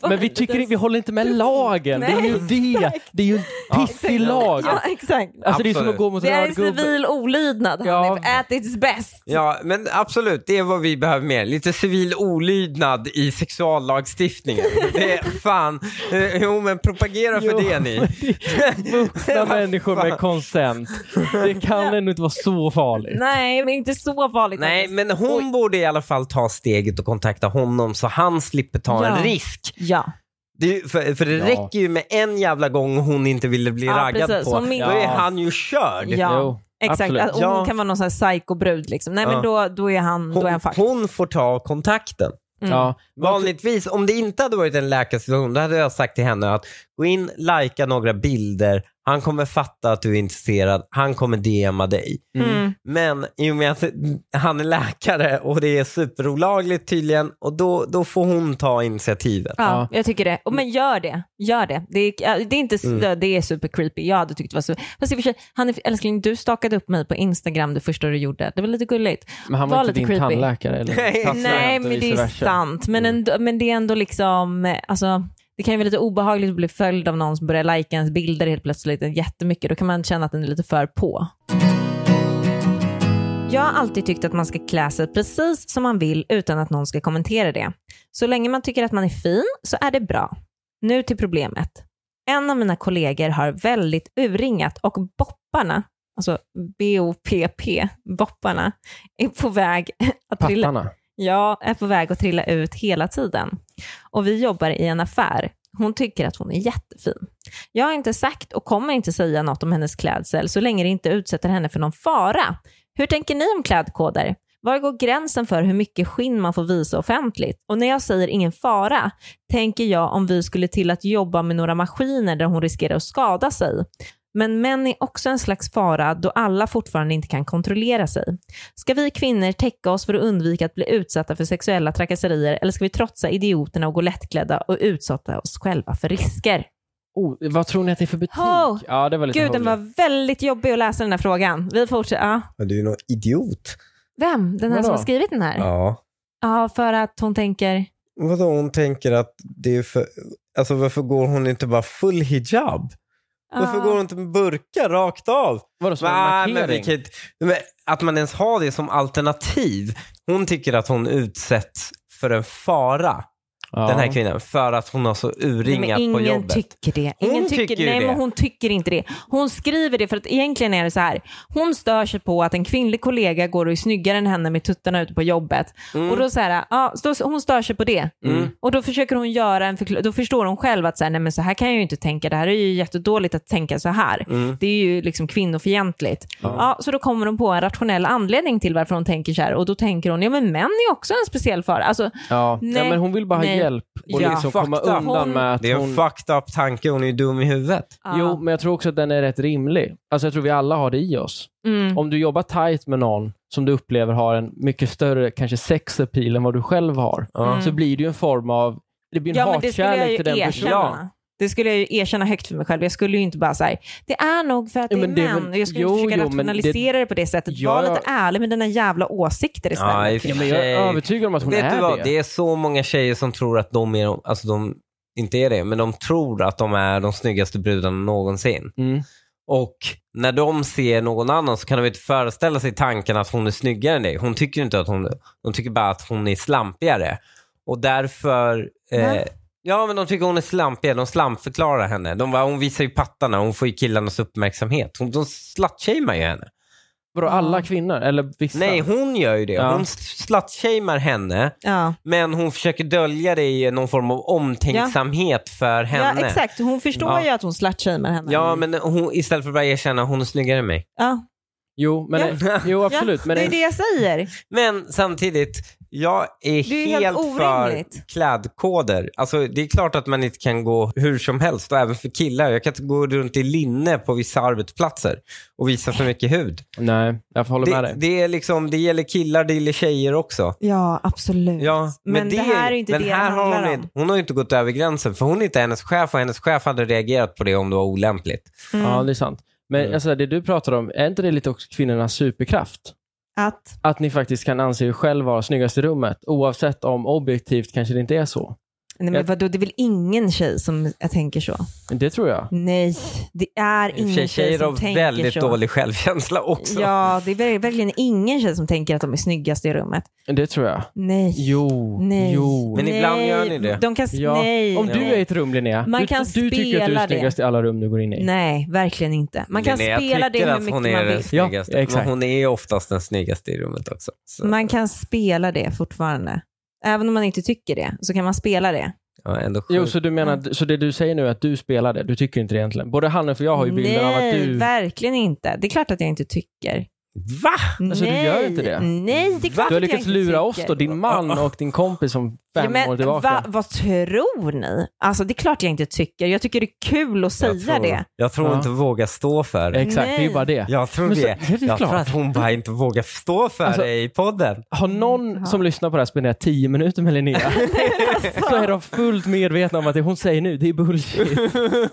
S3: Men vi tycker vi håller inte med lagen. det är ju det. Det är ju en pissig lag.
S4: Ja, exakt.
S3: Alltså det är som
S1: Absolut.
S3: att gå mot
S4: Det är
S3: röd
S4: en
S3: gubbe.
S4: civil olydnad,
S3: Ja.
S4: Hanif. At its best.
S1: Ja, men absolut, det är vad vi behöver mer. Lite civil olydnad i sexuallagstiftningen. Det är fan, eh, jo men propagera för
S3: Jo,
S1: det ni.
S3: Vuxna människor med konsent. Det kan ändå inte vara så farligt.
S4: Nej, men inte så farligt.
S1: Nej,
S4: faktiskt.
S1: men hon borde i alla fall ta steget och kontakta honom så han slipper ta
S4: Ja.
S1: en risk.
S4: Ja.
S1: Det, är ju- för, för det
S3: Ja.
S1: räcker ju med en jävla gång hon inte ville bli
S4: Ja,
S1: raggad
S4: precis.
S1: på.
S4: Hon minns-
S1: Då är
S3: Ja.
S1: han ju körd.
S4: Ja,
S3: Jo,
S4: exakt.
S3: absolut.
S4: Att hon
S1: Ja.
S4: kan vara någon sån här psykobrud. Liksom. Nej,
S1: Ja.
S4: men då, då är han, då är
S1: Hon,
S4: han fucked.
S1: hon får ta kontakten.
S4: Mm.
S3: Ja.
S1: Vanligtvis, om det inte hade varit en läkarsituation, då hade jag sagt till henne att gå in, likea några bilder, han kommer fatta att du är intresserad, han kommer DMa dig.
S4: Mm.
S1: Men i och med att han är läkare och det är superolagligt tydligen, och då, då får hon ta initiativet.
S4: Ja,
S3: Ja.
S4: jag tycker det. Och Men gör det. Gör det. Det är, ja, det är inte mm. det är super creepy. Jag hade tyckt det var så. Fast i och för sig, Hanif, älskling, du stakade upp mig på Instagram det första du gjorde. Det var lite gulligt.
S3: Men han var,
S4: Var
S3: inte
S4: lite
S3: din
S4: creepy.
S3: tandläkare eller
S1: Nej.
S3: patient
S4: Nej,
S3: och
S4: men det
S3: vice
S4: är
S3: versa. Mm.
S4: sant. Men, ändå, men det är ändå liksom, eh, alltså, det kan ju vara lite obehagligt att bli följd av någon som börjar lajka ens bilder helt plötsligt jättemycket. Då kan man känna att den är lite för på. Jag har alltid tyckt att man ska klä sig precis som man vill utan att någon ska kommentera det. Så länge man tycker att man är fin så är det bra. Nu till problemet. En av mina kollegor har väldigt urringat och bopparna, alltså B-O-P-P, bopparna, är på väg att trilla
S3: Pattarna.
S4: jag är på väg att trilla ut hela tiden. Och vi jobbar i en affär. Hon tycker att hon är jättefin. Jag har inte sagt och kommer inte säga något om hennes klädsel så länge det inte utsätter henne för någon fara. Hur tänker ni om klädkoder? Var går gränsen för hur mycket skinn man får visa offentligt? Och när jag säger ingen fara, tänker jag om vi skulle till att jobba med några maskiner där hon riskerar att skada sig. Men män är också en slags fara då alla fortfarande inte kan kontrollera sig. Ska vi kvinnor täcka oss för att undvika att bli utsatta för sexuella trakasserier eller ska vi trotsa idioterna och gå lättklädda och utsätta oss själva för risker?
S3: Oh, vad tror ni att det är för butik?
S4: Oh,
S3: ja, det var lite
S4: Gud, den
S3: roligt.
S4: var väldigt jobbig att läsa den här frågan. Vi fortsätter. Ja.
S1: Men du är nog idiot.
S4: Vem? Den här
S3: Vadå?
S4: som har skrivit den här? Ja.
S1: Ja.
S4: för att hon tänker...
S1: Vadå, hon tänker att det är för... Alltså varför går hon inte bara full hijab? Varför
S4: Ja.
S1: går hon inte med burka rakt av?
S3: Vadå, som en
S1: Nej, men
S3: markering?
S1: vi kan inte- men att man ens har det som alternativ. Hon tycker att hon utsätts för en fara,
S3: Ja.
S1: den här kvinnan, för att hon har så urringat
S4: men
S1: på
S4: ingen
S1: jobbet.
S4: tycker det. Ingen
S1: Hon
S4: tycker,
S1: tycker ju
S4: nej,
S1: det.
S4: men hon tycker inte det. Hon skriver det för att egentligen är det så här. Hon stör sig på att en kvinnlig kollega går och är snyggare än henne med tuttarna ute på jobbet.
S1: Mm.
S4: Och då så här, ja, så hon stör sig på det. Och då försöker hon göra en förkl- Då förstår hon själv att så här, nej, men så här kan jag ju inte tänka. Det här är ju jättedåligt att tänka så här.
S1: Mm.
S4: Det är ju liksom kvinnofientligt. Ja. så då kommer hon på en rationell anledning till varför hon tänker så här. Och då tänker hon, ja men män är också en speciell fara. Alltså,
S3: Ja.
S4: Nej,
S3: ja, men hon vill bara ha
S4: nej.
S3: hjälp och
S4: Ja.
S3: liksom
S1: Fucked
S3: komma
S1: up.
S3: undan
S4: Hon-
S3: med att
S1: Det är en
S3: hon...
S1: fucked up tanke, hon är ju dum i huvudet.
S4: ja.
S3: Jo, men jag tror också att den är rätt rimlig. Alltså jag tror vi alla har det i oss.
S4: Mm.
S3: Om du jobbar tight med någon som du upplever har en mycket större kanske sex appeal än vad du själv har,
S4: Mm.
S3: så blir det ju en form av... Det blir en
S4: Ja, men det skulle jag
S3: hatkärlek
S4: ju
S3: till den personen.
S4: erkänna. Det skulle jag ju erkänna högt för mig själv. Jag skulle ju inte bara säga det är nog för att det
S3: Ja,
S4: är
S3: men det är
S4: män.
S3: väl-
S4: och Jag skulle
S3: Jo,
S4: inte försöka
S3: jo, men det-
S4: rationalisera det... på det sättet.
S3: Ja,
S4: Var
S3: ja.
S4: lite ärlig med dina jävla åsikter
S1: Ja, i
S4: istället.
S1: och för
S3: Ja, men jag
S1: sig.
S3: är övertygad om att hon
S1: Vet
S3: är
S1: du vad?
S3: det.
S1: Det. är så många tjejer som tror att de är, alltså de inte är det, men de tror att de är de snyggaste brudarna någonsin.
S3: Mm.
S1: Och när de ser någon annan så kan de inte föreställa sig tanken att hon är snyggare än dig. Hon tycker ju inte att hon De tycker bara att hon är slampigare. Och därför... Eh,
S4: Va?
S1: ja, men de tycker hon är slampigare. De slampförklarar henne. De bara, hon visar ju pattarna. Hon får ju killarnas uppmärksamhet. Hon, de slutshamear ju henne.
S3: Vadå, alla kvinnor? Eller vissa?
S1: Nej, hon gör ju det.
S3: Ja.
S1: Hon slutshamear henne.
S4: Ja.
S1: Men hon försöker dölja det i någon form av omtänksamhet för
S4: ja,
S1: henne.
S4: exakt. Hon förstår
S1: Ja.
S4: ju att hon slutshamear henne.
S1: Ja, men hon, istället för att bara erkänna hon är snyggare än mig.
S4: Ja.
S3: Jo, men, jo absolut.
S4: Ja,
S3: men
S4: det är det jag säger.
S1: Men samtidigt, jag är,
S4: Det är ju helt
S1: för
S4: orimligt.
S1: klädkoder. Alltså, det är klart att man inte kan gå hur som helst och även för killar. Jag kan inte gå runt i linne på vissa arbetsplatser och visa för mycket hud.
S3: Nej, jag håller med
S1: Det,
S3: dig.
S1: det, är liksom, det gäller killar, det gäller tjejer också.
S4: Ja, absolut.
S1: Ja,
S4: men, det, här är ju inte
S1: men
S4: det det
S1: här har
S4: handlar
S1: hon,
S4: om.
S1: inte- hon har ju inte gått över gränsen för hon är inte hennes chef och hennes chef hade reagerat på det om det var olämpligt.
S4: Mm.
S3: Ja, det är sant. Men
S1: Mm.
S3: alltså, det du pratar om, är inte det lite också kvinnornas superkraft?
S4: Att,
S3: Att ni faktiskt kan anse er själv vara snyggast i rummet, oavsett om objektivt kanske det inte är så.
S4: nej,
S3: Jag-
S4: men vadå, det är väl ingen tjej som jag tänker så?
S3: Det tror jag.
S4: Nej, det är
S1: I och för sig,
S4: ingen tjej
S1: Tjejer
S4: som
S1: har
S4: tänker
S1: väldigt
S4: så.
S1: dålig självkänsla också.
S4: Ja, det är ver- verkligen ingen tjej som tänker att de är snyggast i rummet.
S3: Det tror jag.
S4: Nej.
S3: Jo.
S4: Nej.
S3: Jo.
S1: Men
S4: nej,
S1: ibland gör ni det.
S4: De kan, s-
S3: ja.
S4: Nej.
S3: Om du
S4: nej.
S3: är i ett rum Linnea,
S4: Man
S3: du,
S4: kan
S3: du tycker att du
S4: spela
S3: är
S4: det.
S3: snyggast i alla rum du går in i.
S4: Nej, verkligen inte. Man kan
S1: Nej, nej,
S4: spela
S1: jag
S4: det
S1: tycker
S4: hur
S1: att
S4: mycket
S1: hon
S4: man
S1: är den
S4: vill.
S1: snyggaste.
S3: Ja, exakt.
S1: men hon är ju oftast den snyggaste i rummet också. Så,
S4: Man kan spela det fortfarande. Även om man inte tycker det, så kan man spela det.
S1: ja, ändå
S3: Jo,
S1: sjukt.
S3: så du menar, så det du säger nu är att du spelar det, du tycker inte det egentligen. Både han och för jag har ju bilden av att
S4: Nej,
S3: du...
S4: verkligen inte. Det är klart att jag inte tycker.
S1: Va?
S3: Alltså, du
S4: nej,
S3: gör inte det?
S4: Nej, det är klart
S3: Du har
S4: att jag
S3: lyckats
S4: inte
S3: lura
S4: tycker.
S3: oss då, din man och din kompis som fem
S4: Ja, men
S3: år tillbaka.
S4: Va, vad tror ni? Alltså det är klart jag inte tycker. Jag tycker det är kul att
S1: Jag
S4: säga
S1: tror-
S4: det.
S1: Jag tror
S3: Ja.
S1: inte vågar stå för det.
S3: Exakt, det är ju
S4: Nej.
S3: bara det.
S1: Jag tror
S3: Men så-
S1: det.
S3: det är
S1: jag tror
S3: klart.
S1: att hon bara inte vågar stå för
S3: Alltså-
S1: det i podden.
S3: Har någon
S4: Mm, Ja. alltså.
S3: som lyssnar på det här spenderat tio minuter med Linnea så är de fullt medvetna om att det hon säger nu, det är bullshit.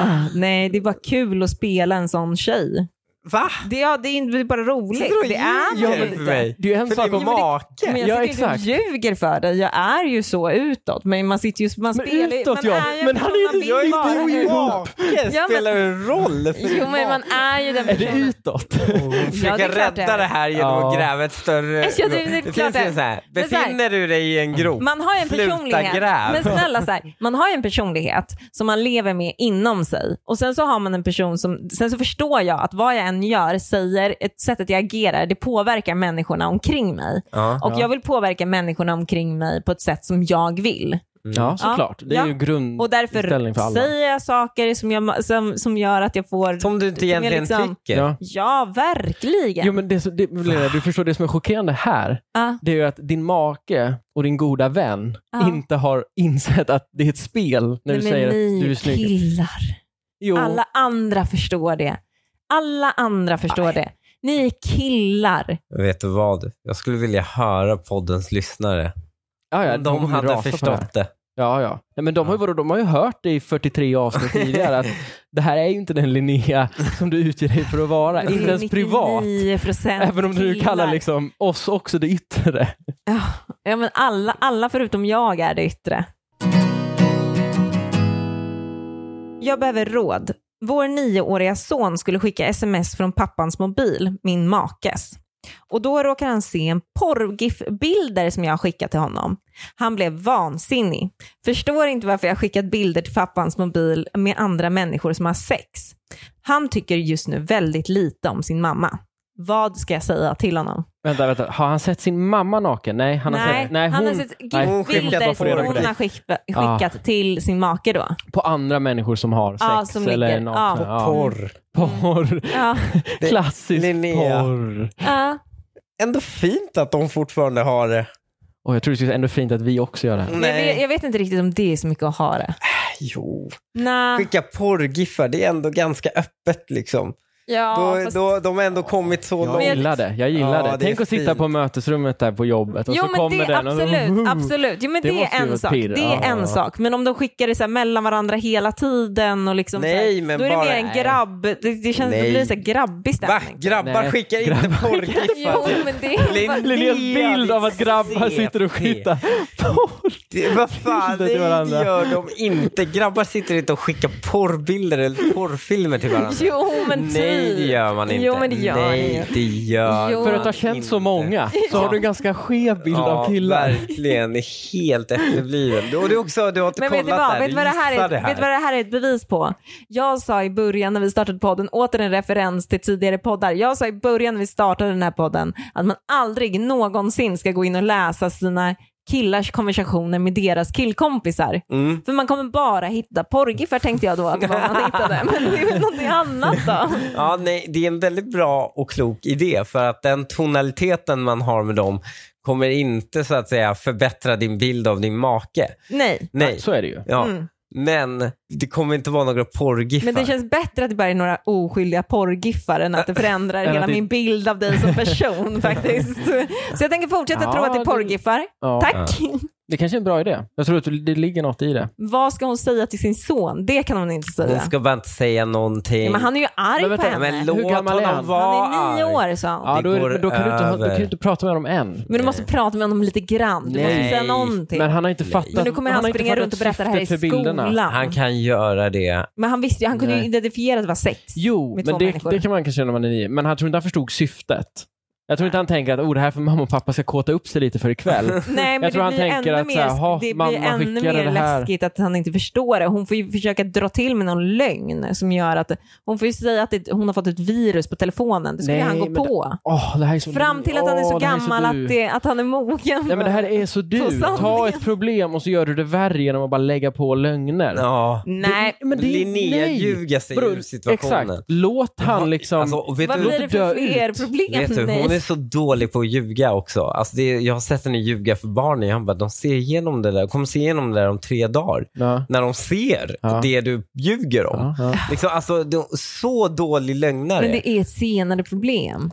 S4: Ah, nej, det är bara kul att spela en sån tjej.
S1: Va?
S4: Det, ja, det, är, inte- det är bara roligt.
S1: Sitter du och
S4: Det är
S1: ljuger
S4: man ju
S1: för
S4: inte.
S1: mig?
S3: Det är ju en
S1: För
S3: sak
S1: din
S3: om...
S1: make.
S4: Men jag
S3: Ja,
S4: sitter inte och
S3: exakt.
S4: ljuger för dig. Jag är ju så utåt. Men man sitter ju... Man
S3: Men
S4: spelar, ju-
S3: utåt,
S4: man
S3: ja.
S4: är ju
S3: Men han är ju-
S4: man vill
S3: jag är ju
S4: vara.
S3: inte ihop.
S1: Make
S4: Ja, men-
S1: spelar en roll för
S4: Jo,
S1: din
S4: men man
S1: make.
S4: är ju den
S3: Är det
S4: personen.
S3: utåt?
S1: Hon försöker
S4: det är klart det
S1: rädda
S4: är.
S1: det här genom att
S3: Ja.
S1: gräva ett större...
S4: Alltså, jag- det är
S1: det
S4: klart
S1: finns
S4: det är.
S1: ju så här.
S4: Men så här-
S1: Befinner du dig i en grop?
S4: Man har ju en
S1: Sluta
S4: personlighet.
S1: gräv.
S4: Men snälla, så här, man har ju en personlighet som man lever med inom sig. Och sen så har man en person som, sen så förstår jag att vad jag än gör, säger, ett sättet jag agerar, det påverkar människorna omkring mig.
S1: Ja.
S4: Och jag vill påverka människorna omkring mig på ett sätt som jag vill.
S3: Ja, såklart. Det är
S4: Ja.
S3: ju grund...
S4: Och därför
S3: Inställning för alla.
S4: säger jag saker som, jag, som, som gör att jag får...
S1: Som du inte
S4: Som jag
S1: egentligen
S4: liksom-
S1: tycker.
S3: Ja.
S4: Ja, verkligen.
S3: Jo, men det, som- det, Lena, du förstår, det som är chockerande här,
S4: Ja.
S3: det är ju att din make och din goda vän
S4: Ja.
S3: inte har insett att det är ett spel när
S4: Nej,
S3: du
S4: men
S3: säger
S4: ni
S3: att du är snygg.
S4: killar.
S3: Jo,
S4: Alla andra förstår det. Alla andra förstår det. Ni är killar.
S1: Vet du vad? Jag skulle vilja höra poddens lyssnare.
S3: ja,
S4: Mm,
S3: ja,
S1: Om de
S3: kommer rasa
S1: hade
S3: på det här.
S1: förstått det.
S3: Ja, ja. Nej, men de, har ju, vadå, de har ju hört det i 43 avsnitt tidigare att det här är ju inte den Linnea som du utger dig för att vara, inte ens privat.
S4: 99%
S3: Även om du
S4: killar.
S3: kallar liksom oss också det yttre.
S4: Ja, men alla, alla förutom jag är det yttre. Jag behöver råd. Vår nioåriga son skulle skicka sms från pappans mobil, min makes. Och då råkar han se en porrgif-bilder som jag har skickat till honom. Han blev vansinnig. Förstår inte varför jag skickat bilder till pappans mobil med andra människor som har sex. Han tycker just nu väldigt lite om sin mamma. Vad ska jag säga till honom?
S3: Vänta, vänta. Har han sett sin mamma naken? Nej, han har
S4: nej,
S3: sett, nej,
S4: han
S3: hon,
S4: har sett
S3: nej,
S1: hon skickade
S4: GIF-bilder
S1: bara
S4: som
S1: på
S4: hon
S1: dig.
S4: har skickat,
S3: Ah.
S4: skickat till sin make då.
S3: på andra människor som har sex
S4: Ja, som
S3: eller
S4: ligger.
S3: är nakna.
S4: Ja. Mm.
S3: Ja.
S1: Porr.
S3: Porr.
S4: Ja,
S1: Det-
S3: Klassisk
S1: Linnea.
S3: porr.
S4: ja.
S1: Ändå fint att de fortfarande har det.
S3: Och jag tror det skulle vara ändå fint att vi också gör det här.
S4: Men Jag, vet, jag vet inte riktigt om det är så mycket att ha det.
S1: Jo.
S4: Nej,
S1: Skicka porrgiffar, det är ändå ganska öppet liksom.
S4: ja,
S1: då,
S4: fast...
S1: då, de har ändå kommit så
S3: Jag
S1: långt.
S3: gillar det. Jag gillar
S1: Ja,
S3: det.
S1: det är
S3: Tänk att sitta
S1: fint.
S3: på mötesrummet där på jobbet och
S4: Jo
S3: så
S4: men
S3: kommer
S4: det,
S3: den och
S4: absolut, absolut. Jo, men
S3: Det
S4: det,
S3: måste ju
S4: är
S3: vara
S4: en sak.
S3: pirr.
S4: Det är
S3: Ja,
S4: en
S3: ja.
S4: sak. Men om de skickar det så här mellan varandra hela tiden och liksom
S1: Nej,
S4: så här,
S1: men
S4: då är det
S1: bara-
S4: mer en
S1: Nej.
S4: grabb... Det, det känns det
S1: Nej.
S4: blir en så här grabbig
S1: Va?
S4: stämning.
S1: Grabbar
S3: Nej,
S1: skickar
S3: grabbar
S1: inte
S4: Jo
S1: porrgiffar. till-
S4: men det är
S1: Linnea,
S3: Linneas bild av att
S1: ditt
S3: grabbar
S1: CP.
S3: sitter och skittar porr.
S1: Det- Vad fan,
S3: bilder
S1: det
S3: till varandra.
S1: gör de inte. Grabbar sitter inte och skickar porrbilder eller porrfilmer till varandra.
S4: Jo men
S1: Nej, det
S4: typ.
S1: gör man inte.
S4: Jo, men det gör
S1: Nej,
S4: man
S1: det gör
S4: Jo.
S1: man
S3: För att ha känt
S1: inte.
S3: så många så har du en ganska skev bild av killar.
S1: verkligen. Helt efterbliven. Och du, också, du har inte
S4: Men
S1: kollat
S4: vet du, vad,
S1: där.
S4: vet, du vad det här är,
S1: gissar det här.
S4: vet du vad det här är ett bevis på? Jag sa i början när vi startade podden, åter en referens till tidigare poddar. Jag sa i början när vi startade den här podden att man aldrig någonsin ska gå in och läsa sina killars konversationer med deras killkompisar.
S1: Mm.
S4: För man kommer bara hitta porrgiffar tänkte jag då att det var vad man hittade. Men det är väl någonting annat då.
S1: Ja, nej, det är en väldigt bra och klok idé för att den tonaliteten man har med dem kommer inte så att säga förbättra din bild av din make.
S4: Nej.
S1: Nej.
S3: Så är det ju.
S1: Ja.
S4: Mm.
S1: Men det kommer inte vara några porrgiffar.
S4: Men det känns bättre att det bara är några oskyldiga porrgiffar än att det förändrar
S3: Än att
S4: hela
S3: det-
S4: min bild av dig som person faktiskt. Så jag tänker fortsätta
S3: Ja,
S4: tro att det
S3: det-
S4: är porrgiffar.
S3: Ja.
S4: Tack!
S3: Det kanske är en bra idé. Jag tror att det ligger något i det.
S4: Vad ska hon säga till sin son? Det kan hon inte
S1: Hon
S4: säga.
S1: ska bara inte säga någonting.
S4: Ja, men han är ju arg
S3: Men vänta,
S4: på henne.
S1: Men
S3: Hur
S1: låt
S3: gammal är han?
S1: honom vara
S4: han är nio
S1: arg.
S4: år, sa hon.
S3: Ja,
S1: Det
S3: då, är,
S1: går
S3: det- då, kan du inte, ha- då kan
S1: över.
S3: du inte prata med dem än.
S4: Men du måste prata med honom lite grann. Du måste
S1: Nej.
S4: säga någonting.
S3: Men
S4: Men,
S3: han har inte fattat.
S4: nu kommer han,
S3: har inte
S4: springa
S3: fattat
S4: runt och berätta det här i
S3: syftet för bilderna.
S4: skolan.
S1: Han kan göra det.
S4: Men han visste ju, han kunde ju
S3: Nej.
S4: identifiera att det var sex. med
S3: Jo, men
S4: två
S3: det,
S4: människor.
S3: det kan man kanske känna när man är nio. Men han tror inte han förstod syftet. Jag tror inte han tänker att oh, det här är för mamma och pappa ska kåta upp sig lite för ikväll.
S4: Nej, men
S3: tror
S4: det
S3: han
S4: blir
S3: tänker
S4: ännu
S3: att så
S4: mer,
S3: här, "Ha,
S4: det blir
S3: mamma
S4: ännu
S3: skickade
S4: mer
S3: det här."
S4: läskigt att han inte förstår det. Hon får ju försöka dra till med någon lögn som gör att hon får ju säga att det, hon har fått ett virus på telefonen. Det skulle
S3: Nej,
S4: han gå
S3: men det-
S4: på.
S3: Åh, det här är så
S4: Fram till att han är
S3: Åh,
S4: så
S3: det här
S4: gammal
S3: du.
S4: att, det, att han är mogen.
S3: Nej men det här är så
S4: På
S3: du.
S4: sanningen.
S3: Ta ett problem och så gör du det värre genom att bara lägga på lögner.
S1: Ja.
S4: Nej,
S3: men det-
S1: Linnea
S3: nej.
S1: ljuger sig
S3: Vadå,
S1: ur situationen.
S3: Exakt. Låt han liksom...
S1: Alltså, och vet
S4: vad
S1: du,
S4: blir det för
S3: dö
S4: fler
S3: ut.
S4: problem?
S1: Vet du, hon är så dålig på att ljuga också. Alltså det, är- jag har sett henne ljuga för barnen. Jag bara, de ser igenom det där. kommer se igenom det där om tre dagar.
S3: ja.
S1: När de ser
S3: Ja.
S1: det du ljuger om.
S3: Ja, ja.
S1: Liksom, alltså, de, så dålig lögnare.
S4: Men det är ett senare problem.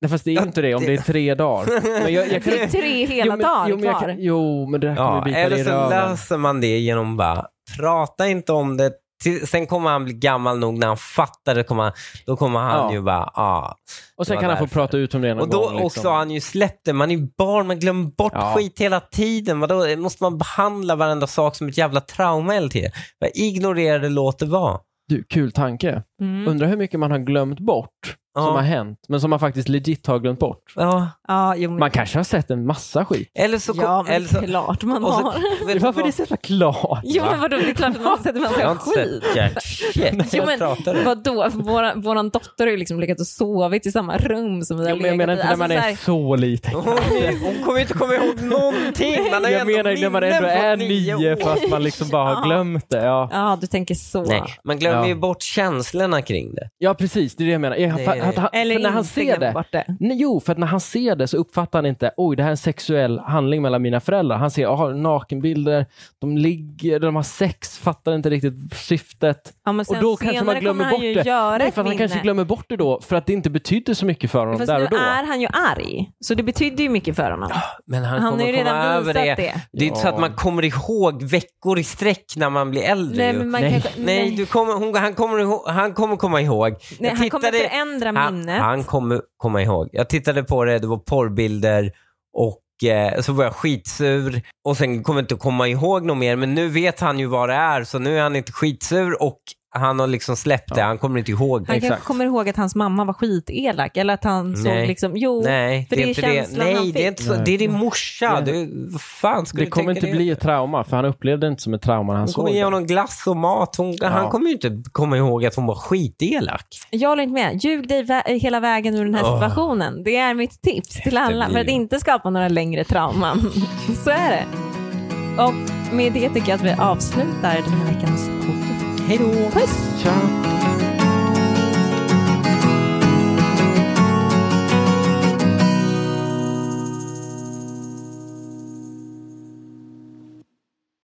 S3: Nej, fast det är inte det om det är tre dagar. Men jag, jag kan...
S4: Det är tre hela
S3: jo, men,
S4: dagar
S3: jo, men jag
S4: kvar.
S3: kan... Jo, men det där kommer
S1: ja,
S3: bita dig
S1: eller
S3: i
S1: så
S3: röven.
S1: löser man det genom bara, prata inte om det. Till- Sen kommer han bli gammal nog när han fattar det. Kommer han, då kommer han
S3: Ja.
S1: ju bara, ah.
S3: Och sen
S1: Det var
S3: kan han få
S1: därför.
S3: prata ut om det någon
S1: Och då
S3: gång. liksom.
S1: också har han ju släppt det. Man är ju barn, man glömmer bort
S3: Ja.
S1: skit hela tiden. Vadå? Måste man behandla varenda sak som ett jävla trauma hela tiden? Bara Ignorera det, låt det vara.
S3: Du, kul tanke.
S4: Mm.
S3: Undrar hur mycket man har glömt bort som har
S1: Ja.
S3: hänt, men som man faktiskt legit har glömt bort.
S1: Ja.
S4: Ja, jo, men,
S3: Man kanske har sett en massa skit.
S1: Eller så...
S4: ja, men
S1: eller så,
S4: klart man
S1: och så-
S4: har.
S1: vet du
S3: Varför är
S1: vad?
S3: det så jävla klart?
S4: Jo, men vadå, det är klart att man har sett en
S1: Jag har
S4: massa
S1: inte
S4: skit.
S1: sett jack shit.
S4: Jo,
S1: Jag
S4: men
S1: pratar om.
S4: vadå, vår, våran dotter har ju liksom legat och sovit i samma rum som vi har
S3: Jo, men jag menar
S4: legat i.
S3: inte när
S4: Alltså,
S3: man
S4: så
S3: är
S4: här-
S3: så liten.
S1: Hon, är- hon kommer ju inte komma ihåg någonting. Man har ju
S3: Jag
S1: ändå
S3: menar ju när man
S1: minnen
S3: ändå
S1: på
S3: är
S1: nio
S3: nio
S1: år.
S3: fast man liksom bara har glömt det. Ja,
S4: Ja, du tänker så.
S1: Nej, man glömmer
S3: Ja.
S1: ju bort känslorna kring det.
S3: ja precis, det är det jag menar. Jag,
S1: Nej,
S3: för,
S1: nej.
S3: Att, han-
S4: Eller
S3: för när han
S4: inte
S3: ser
S4: glöm
S3: det.
S4: bort det.
S3: Nej, jo, för att när han ser det så uppfattar han inte, oj det här är en sexuell handling mellan mina föräldrar. Han ser, aha, nakenbilder, de ligger, de har sex, fattar inte riktigt syftet.
S4: Ja, men sen
S3: Och då kanske man
S4: senare
S3: glömmer
S4: kommer
S3: bort
S4: han ju
S3: det.
S4: Göra
S3: Nej,
S4: ett
S3: för att han kanske
S4: minne.
S3: glömmer bort det då för att det inte betydde så mycket för honom
S4: Fast
S3: där
S4: nu
S3: och då.
S4: är han ju arg, så det betyder ju mycket för honom.
S1: Men han,
S4: Han har
S1: kommer
S4: ju
S1: komma
S4: redan
S1: över
S4: visat
S1: det.
S4: det.
S1: Det, är inte så
S3: Ja.
S1: att man kommer ihåg veckor i sträck när man blir äldre.
S4: Nej,
S1: ju.
S4: men man
S3: Nej.
S4: Kanske,
S1: Nej, du kommer, hon, han, kommer ihåg, han kommer komma ihåg.
S4: Nej,
S1: Jag
S4: han kommer
S1: tittade-
S4: förändra
S1: han,
S4: minnet.
S1: han kommer komma ihåg. Jag tittade på det, det var porrbilder och eh, så var jag skitsur och sen kommer jag inte komma ihåg något mer. Men nu vet han ju vad det är så nu är han inte skitsur och han har liksom släppt det. Han kommer inte ihåg det.
S4: Han kanske
S3: Exakt.
S4: kommer ihåg att hans mamma var skitelak eller att han såg
S1: Nej.
S4: liksom, jo,
S1: Nej,
S4: för
S1: det är
S4: det är
S1: inte det.
S4: känslan han
S1: Nej, det är,
S4: fick.
S1: inte så,
S3: Nej.
S1: det är din morsa.
S3: Nej.
S1: Du, vad fan skulle
S3: Det
S1: du
S3: kommer
S1: tänka det?
S3: inte bli ett trauma för han upplevde det inte som ett trauma när han
S1: Hon kommer
S3: såg
S1: ge
S3: det.
S1: honom glass och mat. Hon, Han kommer ju inte komma ihåg att hon var skitelak.
S4: Jag håller inte med. Ljug dig vä- hela vägen ur den här
S1: Åh.
S4: situationen. Det är mitt tips till alla för att
S1: Efterbliven.
S4: inte skapa några längre trauman. Så är det. Och med det tycker jag att vi avslutar den här veckans podd.
S1: Hej då!
S4: Puss!
S3: Tja.